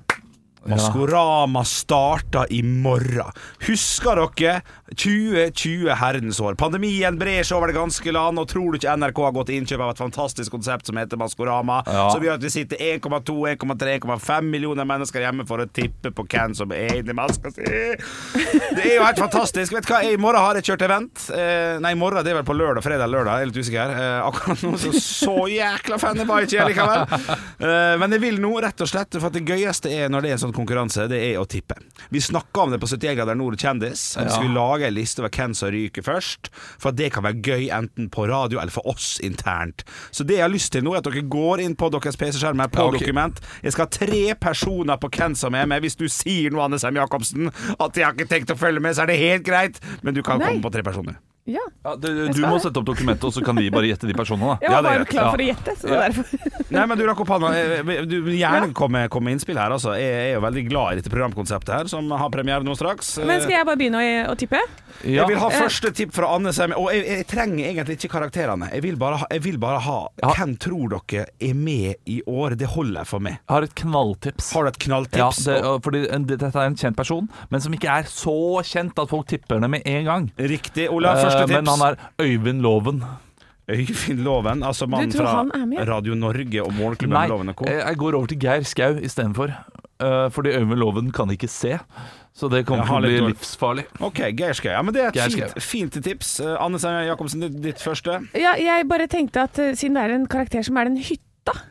[SPEAKER 4] Maskorama starta i morgen. Husker dere 2020 herrens år? Pandemien brer seg over det ganske land, og tror du ikke NRK har gått til innkjøp av et fantastisk konsept som heter Maskorama,
[SPEAKER 3] Ja.
[SPEAKER 4] som gjør at vi sitter 1,2, 1,3, 1,5 millioner mennesker hjemme for å tippe på hvem som er inni maska si? Det er jo helt fantastisk. Vet du hva, i morgen har jeg kjørt event. Eh, nei, i morgen det er vel på lørdag, fredag, lørdag. Jeg er litt usikker. Eh, akkurat nå så, så jækla fan jeg var ikke jeg likevel. Eh, men jeg vil nå rett og slett, for at det gøyeste er når det er en sånn konkurranse, det er å tippe. Vi snakka om det på 71 grader nord kjendis. at Vi skulle lage en liste over hvem som ryker først. For at det kan være gøy enten på radio eller for oss internt. Så det jeg har lyst til nå, er at dere går inn på deres PC-skjermer på
[SPEAKER 3] Ja, ok.
[SPEAKER 4] dokument. Jeg skal ha tre personer på hvem som er med. Hvis du sier noe, Anne Sem Jacobsen, at jeg har ikke tenkt å følge med, så er det helt greit. Men du kan
[SPEAKER 5] Nei.
[SPEAKER 4] komme på tre personer.
[SPEAKER 5] Ja.
[SPEAKER 3] Ja, du, du må sette opp dokumentet, og så kan vi bare gjette de personene.
[SPEAKER 5] Jeg
[SPEAKER 3] Da.
[SPEAKER 5] var
[SPEAKER 4] det er
[SPEAKER 5] bare
[SPEAKER 4] greit.
[SPEAKER 5] klar
[SPEAKER 3] Ja. Eh.
[SPEAKER 5] for å gjette, så det er derfor.
[SPEAKER 4] Nei, men du rakk opp handa. Eh, Du gjerne kom med, kom med innspill her, altså. Jeg er jo veldig glad i dette programkonseptet her, som har premiere nå straks. Eh,
[SPEAKER 5] Men skal jeg bare begynne å, å tippe?
[SPEAKER 3] Ja.
[SPEAKER 4] Jeg vil ha
[SPEAKER 5] Eh.
[SPEAKER 4] første tipp fra Anne Sem. Og jeg, jeg trenger egentlig ikke karakterene. Jeg vil bare ha, jeg vil bare ha
[SPEAKER 3] Ja.
[SPEAKER 4] Hvem tror dere er med i år? Det holder for meg.
[SPEAKER 3] Jeg har et knalltips.
[SPEAKER 4] Har du et
[SPEAKER 3] Ja,
[SPEAKER 4] knalltips?
[SPEAKER 3] det, og fordi en- dette er en kjent person, men som ikke er så kjent at folk tipper det med en gang.
[SPEAKER 4] Riktig, Olav. Første
[SPEAKER 3] Eh,
[SPEAKER 4] tips.
[SPEAKER 3] Men han er Øyvind Loven.
[SPEAKER 4] Øyvind Loven, altså mannen
[SPEAKER 5] tror
[SPEAKER 4] fra
[SPEAKER 5] han er med?
[SPEAKER 4] Radio Norge og
[SPEAKER 3] Nei, Eh.
[SPEAKER 4] Morgenklubben Loven og Co.
[SPEAKER 3] jeg jeg går over til Geir Skau istedenfor. Uh, fordi Øyvind Loven kan ikke se, så det kommer
[SPEAKER 4] Jeg
[SPEAKER 3] til
[SPEAKER 4] har
[SPEAKER 3] å bli
[SPEAKER 4] litt dårlig-
[SPEAKER 3] livsfarlig.
[SPEAKER 4] Ok, Geir Skau. Ja, men det er
[SPEAKER 3] Geir
[SPEAKER 4] et fint, fint tips. Eh, Anne Sem Jacobsen, ditt- ditt første.
[SPEAKER 5] Ja, jeg bare tenkte at eh, siden det er en karakter som er den hytta,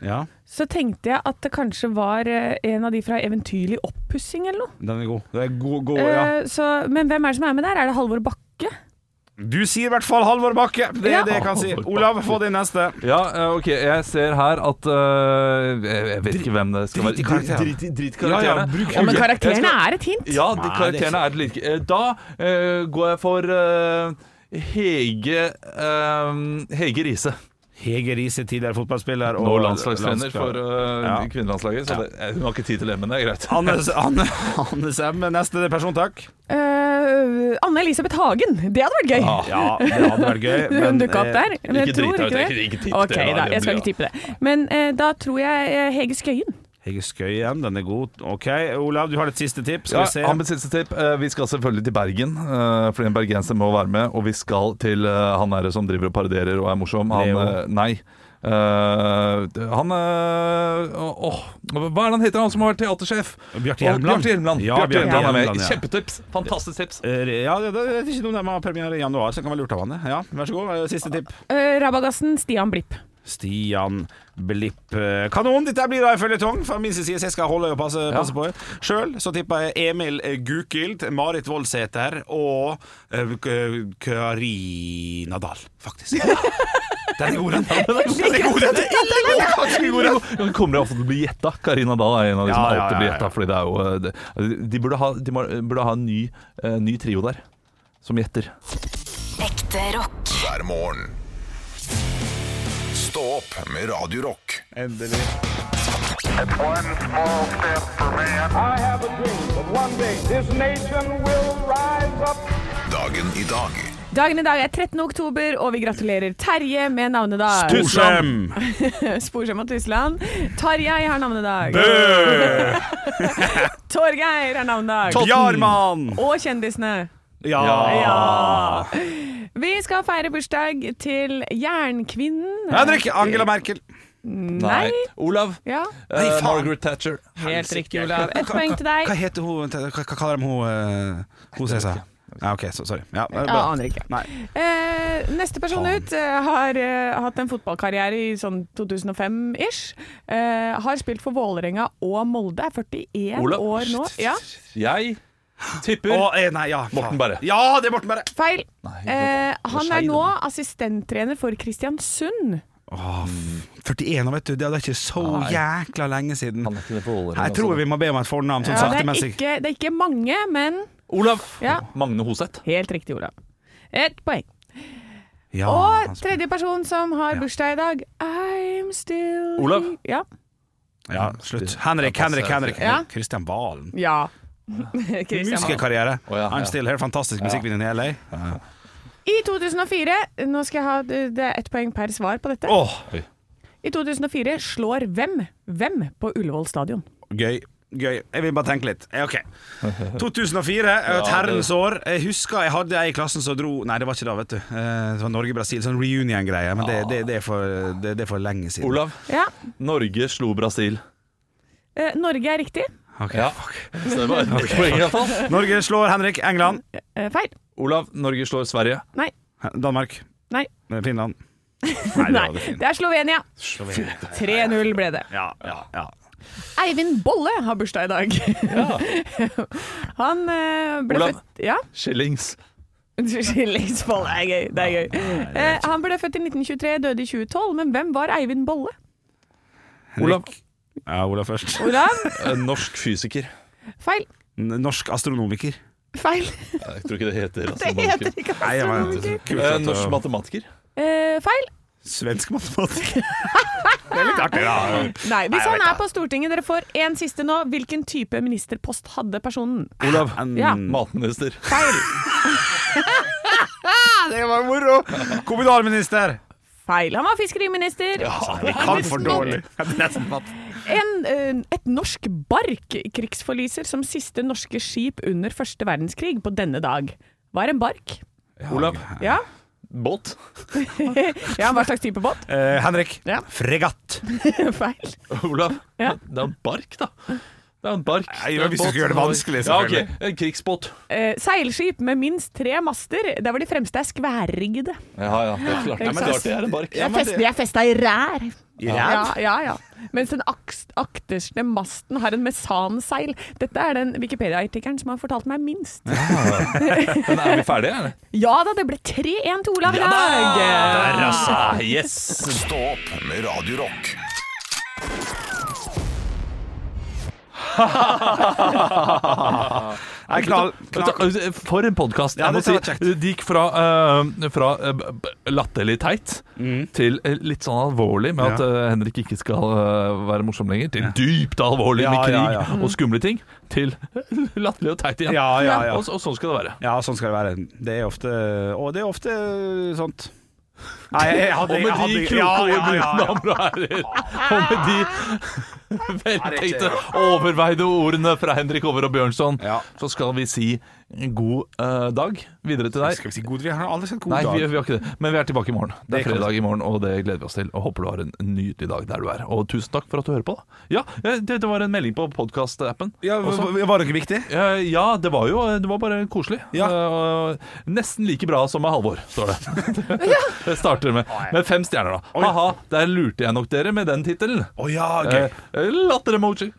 [SPEAKER 4] Ja,
[SPEAKER 5] så tenkte jeg at det kanskje var eh, en av de fra Eventyrlig oppussing eller noe.
[SPEAKER 4] den er god. Det er god, god ja.
[SPEAKER 5] Eh, så, men hvem er det som er med der? Er det Halvor Bakke?
[SPEAKER 4] Du sier i hvert fall Halvor Bakke. Det er
[SPEAKER 5] Ja.
[SPEAKER 4] det jeg kan si.
[SPEAKER 3] Halvor Bakke.
[SPEAKER 4] Olav, få din neste.
[SPEAKER 3] Ja, eh, ok, jeg ser her at eh, jeg, jeg vet ikke hvem det skal
[SPEAKER 4] drit i
[SPEAKER 3] være.
[SPEAKER 4] karakterene.
[SPEAKER 3] i- drit i
[SPEAKER 4] Ja, ja,
[SPEAKER 3] karakterene.
[SPEAKER 4] bruk
[SPEAKER 3] Ja, men
[SPEAKER 4] huet.
[SPEAKER 3] jeg
[SPEAKER 5] Karakterene
[SPEAKER 3] skal-
[SPEAKER 5] er et hint.
[SPEAKER 3] Ja, de
[SPEAKER 4] Nei,
[SPEAKER 3] karakterene er like. Eh, Da eh, går jeg for eh, Hege eh, Hege Riise.
[SPEAKER 4] Hege Riise, tidligere fotballspiller og
[SPEAKER 3] Nå landslagstrener
[SPEAKER 4] landslag-
[SPEAKER 3] for eh,
[SPEAKER 4] Ja.
[SPEAKER 3] kvinnelandslaget, så det, eh, hun har ikke tid til det, men det er greit.
[SPEAKER 4] Anne, Anne, Anne Sem, neste person, takk.
[SPEAKER 5] Eh, Anne Elisabeth Hagen. Det hadde vært gøy.
[SPEAKER 3] Ja.
[SPEAKER 4] Ja, det hadde vært gøy.
[SPEAKER 5] Hun dukka opp
[SPEAKER 4] eh,
[SPEAKER 5] der. Men jeg
[SPEAKER 3] ikke drit
[SPEAKER 5] tror
[SPEAKER 3] deg ut,
[SPEAKER 5] ikke
[SPEAKER 3] ikke-
[SPEAKER 5] det.
[SPEAKER 3] ikke tipp det,
[SPEAKER 5] Ok,
[SPEAKER 3] da,
[SPEAKER 5] da.
[SPEAKER 3] det
[SPEAKER 5] Jeg skal
[SPEAKER 3] blir-
[SPEAKER 5] ikke tippe det. Men eh, da tror jeg eh, Hege Skøyen.
[SPEAKER 4] Hege Skøyen, den er god. Ok, Olav, du har et siste tips. Skal
[SPEAKER 3] Ja,
[SPEAKER 4] vi se.
[SPEAKER 3] han med siste tipp. Eh, Vi skal selvfølgelig til Bergen, eh, fordi en bergenser må være med. Og vi skal til eh, han derre som driver og parodierer og er morsom. Han,
[SPEAKER 4] Leo.
[SPEAKER 3] eh, nei. Eh, han eh, åh, Hva er det han heter, han som har vært teatersjef?
[SPEAKER 4] Bjarte
[SPEAKER 3] Åh,
[SPEAKER 4] Hjelmeland.
[SPEAKER 3] Bjarte Hjelmeland.
[SPEAKER 4] Ja,
[SPEAKER 3] Bjarte
[SPEAKER 4] Bjarte
[SPEAKER 3] Hjelmeland er med.
[SPEAKER 4] Hjelmeland, ja.
[SPEAKER 3] Kjempetips! Fantastisk tips.
[SPEAKER 4] Eh, Ja, det, det, det er ikke noe der man har premiere i januar, så det kan være lurt av han. det. Ja, vær så god, eh, siste tipp.
[SPEAKER 5] Eh, Rabagassen Stian Blipp.
[SPEAKER 4] Stian Blipp. eh, Kanon! Dette blir da en føljetong fra min side, så jeg skal holde og passe, passe på. Sjøl så tipper jeg Emil eh, Gukild, Marit Voldsæter og eh, K- Karina Dahl, faktisk. Den er god, den. Den er god, den.
[SPEAKER 3] Nå kommer det ofte til å bli gjetta. Karina Dahl er en av de som
[SPEAKER 4] Ja, ja,
[SPEAKER 3] alltid blir
[SPEAKER 4] ja, ja.
[SPEAKER 3] gjetta. Fordi det er jo eh, det- De burde ha, de må- burde ha en ny, eh, ny trio der, som gjetter.
[SPEAKER 1] Ekte rock.
[SPEAKER 2] hver morgen. Stå opp med Radio Rock.
[SPEAKER 4] Endelig.
[SPEAKER 6] One small step for man. I have a dream that one day this nation will rise up.
[SPEAKER 2] Dagen i dag
[SPEAKER 5] Dagen i dag er 13. oktober, og vi gratulerer Terje med navnedag.
[SPEAKER 4] Torsheim!
[SPEAKER 5] Sporsem og Tysland. Tarjei har navnedag.
[SPEAKER 4] Bø!
[SPEAKER 5] Torgeir har navnedag.
[SPEAKER 4] Bjarmann!
[SPEAKER 5] Og kjendisene.
[SPEAKER 4] Ah. Ja.
[SPEAKER 5] Vi skal feire bursdag til Jernkvinnen.
[SPEAKER 4] Henrik Angela Merkel.
[SPEAKER 5] Nei.
[SPEAKER 3] Olav.
[SPEAKER 5] Ja,
[SPEAKER 3] eh,
[SPEAKER 4] Nei, faen.
[SPEAKER 3] Margaret Thatcher.
[SPEAKER 5] helt riktig, Olav. Ett poeng til deg.
[SPEAKER 4] Hva heter hun Hva, hva kaller de hun uh, Hun sier seg? Ja, OK, så, sorry. Ja, det er
[SPEAKER 5] Ja,
[SPEAKER 4] bra.
[SPEAKER 5] aner ikke.
[SPEAKER 4] Nei.
[SPEAKER 5] Eh, neste person
[SPEAKER 4] Faen.
[SPEAKER 5] ut eh, har eh, hatt en fotballkarriere i sånn 2005-ish. Eh, har spilt for Vålerenga og Molde. Er 41
[SPEAKER 3] Olav.
[SPEAKER 5] år nå. Ja,
[SPEAKER 3] Jeg tipper
[SPEAKER 4] Å, eh, nei, ja, faen.
[SPEAKER 3] Morten Berre.
[SPEAKER 4] Ja, det er Morten Berre.
[SPEAKER 5] feil.
[SPEAKER 3] Nei,
[SPEAKER 5] Eh, han er
[SPEAKER 3] skeiv,
[SPEAKER 5] nå assistenttrener for Kristiansund.
[SPEAKER 4] Åh, f- 41 år, vet du. Det er ikke så
[SPEAKER 3] Nei.
[SPEAKER 4] jækla lenge siden.
[SPEAKER 3] Han er ikke det for Vålerenga,
[SPEAKER 4] Jeg tror
[SPEAKER 3] altså.
[SPEAKER 4] vi må be om et fornavn sånn
[SPEAKER 5] Ja, det, er
[SPEAKER 4] saktemessig.
[SPEAKER 5] ikke, det er ikke mange, men
[SPEAKER 3] Olav.
[SPEAKER 5] Ja.
[SPEAKER 3] Magne Hoseth.
[SPEAKER 5] helt riktig, Olav. Ett poeng.
[SPEAKER 4] Ja, altså.
[SPEAKER 5] Og
[SPEAKER 4] Ah, han sp-
[SPEAKER 5] tredje person som har bursdag i dag, I'm still
[SPEAKER 3] Olav.
[SPEAKER 5] Ja.
[SPEAKER 4] ja, slutt. Henrik, Henrik, Henrik.
[SPEAKER 5] Ja.
[SPEAKER 4] Kristian Valen.
[SPEAKER 5] ja.
[SPEAKER 4] Musikerkarriere.
[SPEAKER 3] Å, ja, ja.
[SPEAKER 4] I'm still here. Fantastisk musikkvideo i LA.
[SPEAKER 5] I 2004 Nå skal jeg ha det er ett poeng per svar på dette.
[SPEAKER 4] Åh,
[SPEAKER 5] I 2004 slår hvem hvem på Ullevål stadion?
[SPEAKER 4] Gøy. Gøy. Jeg vil bare tenke litt. Eh, OK. 2004, et herrens eh, år. Jeg husker jeg hadde ei i klassen som dro Nei, det var ikke da, vet du. Eh, Det var Norge-Brasil, sånn reunion-greie. Men det, det, det, er for, det, det er for lenge siden.
[SPEAKER 3] Olav.
[SPEAKER 5] Ja.
[SPEAKER 3] Norge slo Brasil.
[SPEAKER 5] Eh, Norge er riktig.
[SPEAKER 4] Ok.
[SPEAKER 3] Ja. Så det var ett poeng, iallfall.
[SPEAKER 4] Norge slår Henrik. England.
[SPEAKER 5] Eh, feil.
[SPEAKER 3] Olav. Norge slår Sverige.
[SPEAKER 5] Nei.
[SPEAKER 4] Danmark.
[SPEAKER 5] Nei.
[SPEAKER 4] Finland.
[SPEAKER 5] Nei.
[SPEAKER 4] det var Finland.
[SPEAKER 5] Det er Slovenia. 3-0 ble det.
[SPEAKER 4] Ja, ja, ja.
[SPEAKER 5] Eivind Bolle har bursdag i dag. Han eh, ble
[SPEAKER 3] Olav.
[SPEAKER 5] født Ja.
[SPEAKER 3] Skillings.
[SPEAKER 5] Skillingsbolle er gøy. Det er gøy. Eh, han ble født i 1923, døde i 2012, men hvem var Eivind Bolle?
[SPEAKER 3] Olav.
[SPEAKER 4] Ja, Olav først.
[SPEAKER 5] Olav?
[SPEAKER 3] eh, Norsk fysiker.
[SPEAKER 5] Feil.
[SPEAKER 4] N- Norsk astronomiker.
[SPEAKER 5] Feil.
[SPEAKER 3] Jeg tror ikke det heter altså
[SPEAKER 5] Det heter ikke
[SPEAKER 4] Nei, jeg var-
[SPEAKER 5] astronomiker.
[SPEAKER 4] Kult
[SPEAKER 3] Eh,
[SPEAKER 4] at-
[SPEAKER 3] norsk matematiker.
[SPEAKER 5] Eh, feil.
[SPEAKER 4] Svensk matematiker. Det er litt artig, da.
[SPEAKER 5] Nei,
[SPEAKER 4] Nei,
[SPEAKER 5] Hvis
[SPEAKER 4] jeg
[SPEAKER 5] han
[SPEAKER 4] vet
[SPEAKER 5] er
[SPEAKER 4] det.
[SPEAKER 5] på Stortinget, dere får én siste nå. Hvilken type ministerpost hadde personen?
[SPEAKER 3] Olav.
[SPEAKER 5] Ja.
[SPEAKER 3] Mm. Matminister.
[SPEAKER 5] Feil.
[SPEAKER 4] Det var moro! Kommunalminister.
[SPEAKER 5] Feil. Han var fiskeriminister.
[SPEAKER 4] Det kan for dårlig. Nesten fatt.
[SPEAKER 5] En, eh, et norsk bark krigsforliser som siste norske skip under første verdenskrig på denne dag. Hva er en bark?
[SPEAKER 3] Olav.
[SPEAKER 5] Ja,
[SPEAKER 3] Båt.
[SPEAKER 5] ja hva slags type båt?
[SPEAKER 4] Eh, Henrik.
[SPEAKER 5] Ja.
[SPEAKER 4] Fregatt.
[SPEAKER 5] Feil.
[SPEAKER 3] Olav.
[SPEAKER 5] Ja.
[SPEAKER 3] Det er en bark, da. Det er en bark.
[SPEAKER 4] Nei,
[SPEAKER 3] Det er en
[SPEAKER 4] hvis du
[SPEAKER 3] båt.
[SPEAKER 4] skulle gjøre det vanskelig,
[SPEAKER 3] Ja,
[SPEAKER 4] selvfølgelig.
[SPEAKER 3] ok. En krigsbåt.
[SPEAKER 5] Eh, seilskip med minst tre master, der hvor de fremste er skværriggede.
[SPEAKER 3] Ja, ja. Det er klart
[SPEAKER 5] Ja, men det-
[SPEAKER 3] det er en bark.
[SPEAKER 5] De er fest- de er festa i rær.
[SPEAKER 4] I
[SPEAKER 5] Ja,
[SPEAKER 4] ræv?
[SPEAKER 5] ja, ja. Mens den aks- akterste masten har en mesanseil. Dette er den Wikipedia-artikkelen som har fortalt meg minst.
[SPEAKER 3] Men er vi ferdige, eller?
[SPEAKER 5] Ja da, det ble 3-1 til Olav i dag!
[SPEAKER 3] Der, altså. Yes.
[SPEAKER 2] Stå opp med Radio Rock
[SPEAKER 4] Nei, knall, knall.
[SPEAKER 3] Vet du, For en podkast.
[SPEAKER 4] Ja,
[SPEAKER 3] jeg må
[SPEAKER 4] det sa
[SPEAKER 3] si,
[SPEAKER 4] jeg kjekt.
[SPEAKER 3] de gikk fra, eh, fra eh, b- b- latterlig teit til eh, litt sånn alvorlig, med at
[SPEAKER 4] Ja.
[SPEAKER 3] eh, Henrik ikke skal eh, være morsom lenger, til dypt alvorlig
[SPEAKER 4] Ja,
[SPEAKER 3] med krig
[SPEAKER 4] ja, ja.
[SPEAKER 3] og skumle ting, til latterlig og teit igjen.
[SPEAKER 4] Ja, ja, ja.
[SPEAKER 3] Og, så- og sånn skal det være.
[SPEAKER 4] Ja, sånn skal det være. Det er ofte Og det er ofte sånt. Nei, jeg hadde,
[SPEAKER 3] Og med de
[SPEAKER 4] jeg hadde-
[SPEAKER 3] kloke
[SPEAKER 4] Ja,
[SPEAKER 3] ordene,
[SPEAKER 4] ja, ja, ja.
[SPEAKER 3] damer og herrer, og med de Vel tenkte, overveide ordene fra Henrik Over og Bjørnson.
[SPEAKER 4] Ja.
[SPEAKER 3] Så skal vi si god eh, dag videre til deg.
[SPEAKER 4] Skal vi si god? Vi har aldri sett god
[SPEAKER 3] Nei, vi,
[SPEAKER 4] dag.
[SPEAKER 3] vi har ikke det. Men vi er tilbake i morgen. Det
[SPEAKER 4] Det
[SPEAKER 3] er
[SPEAKER 4] kan vi
[SPEAKER 3] fredag i morgen, og det gleder vi oss til. Og Håper du har en nydelig dag der du er. Og tusen takk for at du hører på. da. Ja, eh, det, det var en melding på podkastappen.
[SPEAKER 4] Ja, var- var det ikke viktig?
[SPEAKER 3] Eh, Ja, det var jo Det var bare koselig.
[SPEAKER 4] Ja.
[SPEAKER 3] Eh, og Nesten like bra som med Halvor, står det. det starter med, med fem stjerner, da. Ha-ha, der lurte jeg nok dere med den tittelen.
[SPEAKER 4] Å ja,
[SPEAKER 3] Eh,
[SPEAKER 4] gøy.
[SPEAKER 3] Latter-emoji.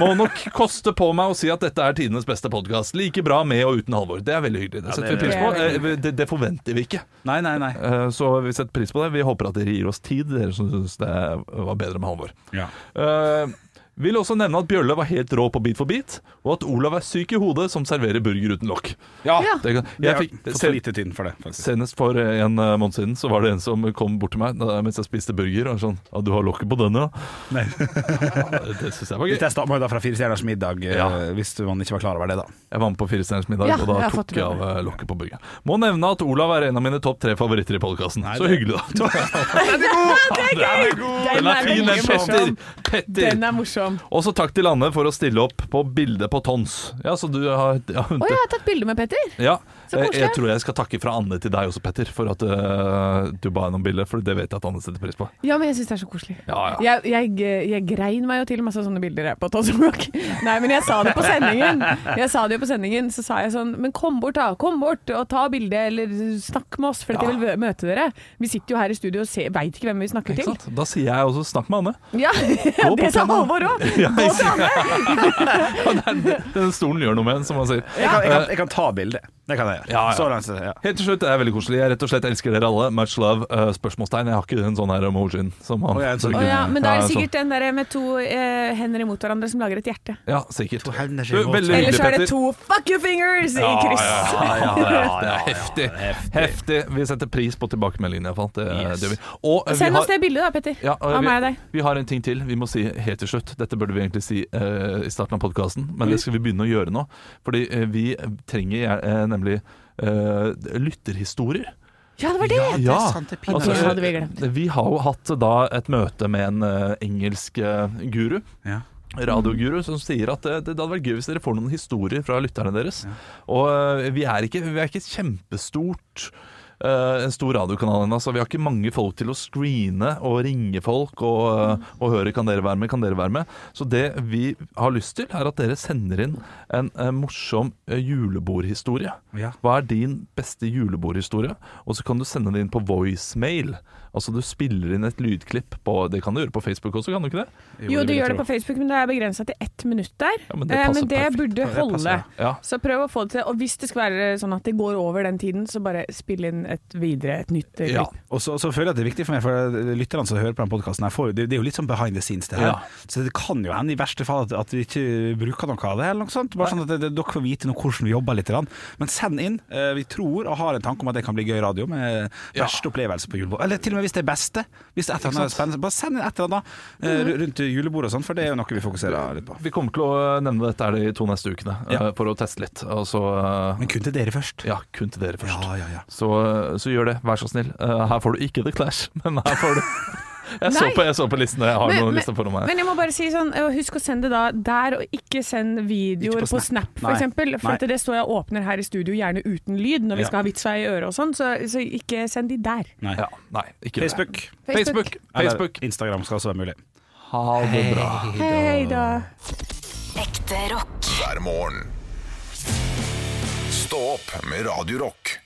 [SPEAKER 3] Må nok koste på meg å si at dette er tidenes beste podkast. Like bra med og uten Halvor. Det er veldig hyggelig. Det setter
[SPEAKER 4] det-
[SPEAKER 3] vi pris på.
[SPEAKER 5] det er
[SPEAKER 3] Eh, Det, det forventer vi ikke.
[SPEAKER 4] Nei, nei, nei.
[SPEAKER 3] Eh, Så vi setter pris på det. Vi håper at dere gir oss tid, dere som syns det var bedre med Halvor.
[SPEAKER 4] Ja.
[SPEAKER 3] Eh, vil også nevne at Bjølle var helt rå på Beat for beat, og at Olav er syk i hodet som serverer burger uten lokk.
[SPEAKER 4] Ja.
[SPEAKER 3] Det kan-
[SPEAKER 4] Jeg
[SPEAKER 3] Jeg fikk,
[SPEAKER 4] har fått for
[SPEAKER 3] sen,
[SPEAKER 4] lite tid for det, faktisk.
[SPEAKER 3] senest for eh, en eh, måned siden så var det en som kom bort til meg da- mens jeg spiste burger. Og sånn ja, 'Du har lokket på denne?' da?»
[SPEAKER 4] Nei.
[SPEAKER 3] Det, det syns jeg var
[SPEAKER 4] Vi
[SPEAKER 3] gøy.
[SPEAKER 4] testa da fra Fire stjerners middag, eh,
[SPEAKER 3] Ja.
[SPEAKER 4] hvis man ikke var klar over det, da.
[SPEAKER 3] Jeg var med på Fire stjerners middag,
[SPEAKER 5] Ja,
[SPEAKER 3] og
[SPEAKER 5] jeg
[SPEAKER 3] da
[SPEAKER 5] har fått
[SPEAKER 3] tok
[SPEAKER 5] det
[SPEAKER 3] jeg av
[SPEAKER 5] med
[SPEAKER 3] eh, lokket på burgeren. Må nevne at Olav er en av mine topp tre favoritter i podkasten. Så hyggelig, da. Den er god! Den er, god.
[SPEAKER 5] Den
[SPEAKER 3] Den
[SPEAKER 5] er
[SPEAKER 3] er fin, den,
[SPEAKER 5] veldig
[SPEAKER 3] Petter.
[SPEAKER 5] morsom.
[SPEAKER 3] Petter.
[SPEAKER 5] Den er morsom.
[SPEAKER 3] Og så takk til Anne for å stille opp på bildet på Tons. Ja, så du har ja, hun-
[SPEAKER 5] Å, jeg har tatt bilde med Petter.
[SPEAKER 3] ja.
[SPEAKER 5] Så
[SPEAKER 3] Jeg,
[SPEAKER 5] koselig.
[SPEAKER 3] jeg tror jeg skal takke fra Anne til deg også, Petter, for at øh, du ba henne om bilde. For det vet jeg at Anne setter pris på.
[SPEAKER 5] Ja, men jeg syns det er så koselig.
[SPEAKER 3] Ja, ja.
[SPEAKER 5] Jeg, jeg, jeg grein meg jo til masse sånne bilder jeg på Tossenbrook. Nei, men jeg sa det på sendingen. Jeg sa det jo på sendingen, så sa jeg sånn Men kom bort, da. Kom bort og ta bilde, eller snakk med oss, for at jeg vil mø- møte dere. Vi sitter jo her i studio og veit ikke hvem vi snakker
[SPEAKER 3] Ikke
[SPEAKER 5] til.
[SPEAKER 3] sant? Da sier jeg også 'snakk med Anne'.
[SPEAKER 5] Ja,
[SPEAKER 3] Gå på
[SPEAKER 5] det sa
[SPEAKER 3] scenen.
[SPEAKER 5] Halvor òg.
[SPEAKER 3] Ja,
[SPEAKER 5] Gå til Anne.
[SPEAKER 3] Ja, det er- det- Den stolen gjør noe med en, som man sier.
[SPEAKER 4] Jeg kan, jeg kan, jeg kan ta bilde. Det kan jeg gjøre.
[SPEAKER 3] Ja, ja.
[SPEAKER 4] Så langt, så- ja.
[SPEAKER 3] Helt til slutt, det er veldig koselig. Jeg rett og slett elsker dere alle. Much love. øh, spørsmålstegn. Jeg har ikke en sånn her emojien som han
[SPEAKER 4] Å, jeg er en sånn-
[SPEAKER 5] Å ja, men da er det
[SPEAKER 3] Ja, altså.
[SPEAKER 5] sikkert den der med to eh, hender imot hverandre som lager et hjerte.
[SPEAKER 3] sånn. Ja, sikkert.
[SPEAKER 4] To hender
[SPEAKER 3] Du,
[SPEAKER 4] imot.
[SPEAKER 3] Veldig
[SPEAKER 5] Eller
[SPEAKER 3] hyggelig,
[SPEAKER 5] så er det
[SPEAKER 3] Petter.
[SPEAKER 5] to fuck you fingers i kryss.
[SPEAKER 3] Ja, ja, ja, det er heftig. Heftig. Vi setter pris på tilbakemeldingene, iallfall. Det,
[SPEAKER 4] Yes.
[SPEAKER 3] det gjør vi. Og, øh, vi
[SPEAKER 5] Send
[SPEAKER 3] har-
[SPEAKER 5] oss det bildet da, Petter.
[SPEAKER 3] Ja, og
[SPEAKER 5] av
[SPEAKER 3] vi,
[SPEAKER 5] meg og deg.
[SPEAKER 3] vi har en ting til vi må si helt til slutt. Dette burde vi egentlig si eh, i starten av podkasten, men det
[SPEAKER 5] Mm.
[SPEAKER 3] skal vi begynne å gjøre nå. Fordi eh, vi trenger eh, nemlig eh, lytterhistorier.
[SPEAKER 5] Ja, det var det!
[SPEAKER 3] Ja,
[SPEAKER 5] pinadø. Det hadde vi glemt.
[SPEAKER 3] eh, vi har jo hatt eh, da et møte med en eh, engelsk eh, guru.
[SPEAKER 4] Ja.
[SPEAKER 3] Radioguru som sier at eh, det, det hadde vært gøy hvis dere får noen historier fra lytterne deres. Og eh, vi er ikke, vi er ikke et kjempestort eh, en stor radiokanal ennå, så vi har ikke mange folk til å screene og ringe folk og, eh, og høre kan dere være med, kan dere være med. Så det vi har lyst til, er at dere sender inn en eh, morsom eh, julebordhistorie.
[SPEAKER 4] Ja.
[SPEAKER 3] Hva er din beste julebordhistorie? Og så kan du sende det inn på voicemail. Altså du spiller inn et lydklipp på Det kan du gjøre på Facebook også, kan du ikke det?
[SPEAKER 5] Jo, du
[SPEAKER 4] vil jeg
[SPEAKER 5] gjør det
[SPEAKER 4] tro.
[SPEAKER 5] på Facebook, men det er begrensa til ett minutt der.
[SPEAKER 3] Ja, men det
[SPEAKER 5] Eh,
[SPEAKER 3] passer
[SPEAKER 5] men det
[SPEAKER 3] perfekt.
[SPEAKER 5] burde
[SPEAKER 4] det
[SPEAKER 5] holde.
[SPEAKER 4] passer,
[SPEAKER 3] ja.
[SPEAKER 5] Så prøv å få det til. Og hvis det skal være sånn at det går over den tiden, så bare spill inn et videre, et nytt eh,
[SPEAKER 3] Ja.
[SPEAKER 5] klipp.
[SPEAKER 4] Og så, så føler jeg at det er viktig for meg, for lytterne som hører på den podkasten, det, det er jo litt sånn behind the scenes, det her.
[SPEAKER 3] Ja.
[SPEAKER 4] Så det kan jo hende i verste fall at, at vi ikke bruker noe av det, eller noe sånt. Bare sånn at det, det, dere får vite noe, hvordan vi jobber litt. grann. Men send inn. Eh, Vi tror og har en tanke om at det kan bli gøy radio, med
[SPEAKER 3] Ja.
[SPEAKER 4] verste opplevelse på julebord. Eller til og med hvis det er beste. Hvis et eller annet er spennende. Bare send inn et eller annet
[SPEAKER 3] Mhm.
[SPEAKER 4] eh, ru- rundt julebordet og sånn, for det er jo noe vi fokuserer litt på.
[SPEAKER 3] Vi kommer til å eh, nevne dette her de to neste ukene
[SPEAKER 4] Ja.
[SPEAKER 3] eh, for å teste litt. Og så, eh,
[SPEAKER 4] Men kun til dere først.
[SPEAKER 3] ja, kun til dere først.
[SPEAKER 4] Ja, ja, ja.
[SPEAKER 3] Så, eh, så gjør det, vær så snill. Eh, Her får du ikke The Clash, men her får du Jeg så
[SPEAKER 5] Nei.
[SPEAKER 3] på, jeg så på listene, jeg har noen lister foran meg.
[SPEAKER 5] men jeg må bare si sånn, eh, husk å sende det da der, og ikke send videoer
[SPEAKER 4] Ikke på
[SPEAKER 5] på
[SPEAKER 4] Snap.
[SPEAKER 5] Snap, for
[SPEAKER 4] Nei.
[SPEAKER 5] eksempel. For
[SPEAKER 4] Nei.
[SPEAKER 5] at det står jeg og åpner her i studio, gjerne uten lyd,
[SPEAKER 4] Ja.
[SPEAKER 5] når vi skal ha vitsa i øret og sånn, så, så ikke send de der.
[SPEAKER 4] Nei.
[SPEAKER 3] Ja, nei, ikke gjør
[SPEAKER 4] Facebook.
[SPEAKER 3] det. Facebook.
[SPEAKER 4] Eller
[SPEAKER 3] Facebook.
[SPEAKER 4] Instagram skal også være mulig.
[SPEAKER 3] Ha det bra.
[SPEAKER 5] Hei da.
[SPEAKER 1] Ekte rock.
[SPEAKER 2] hver morgen. Stå opp med Radio Rock.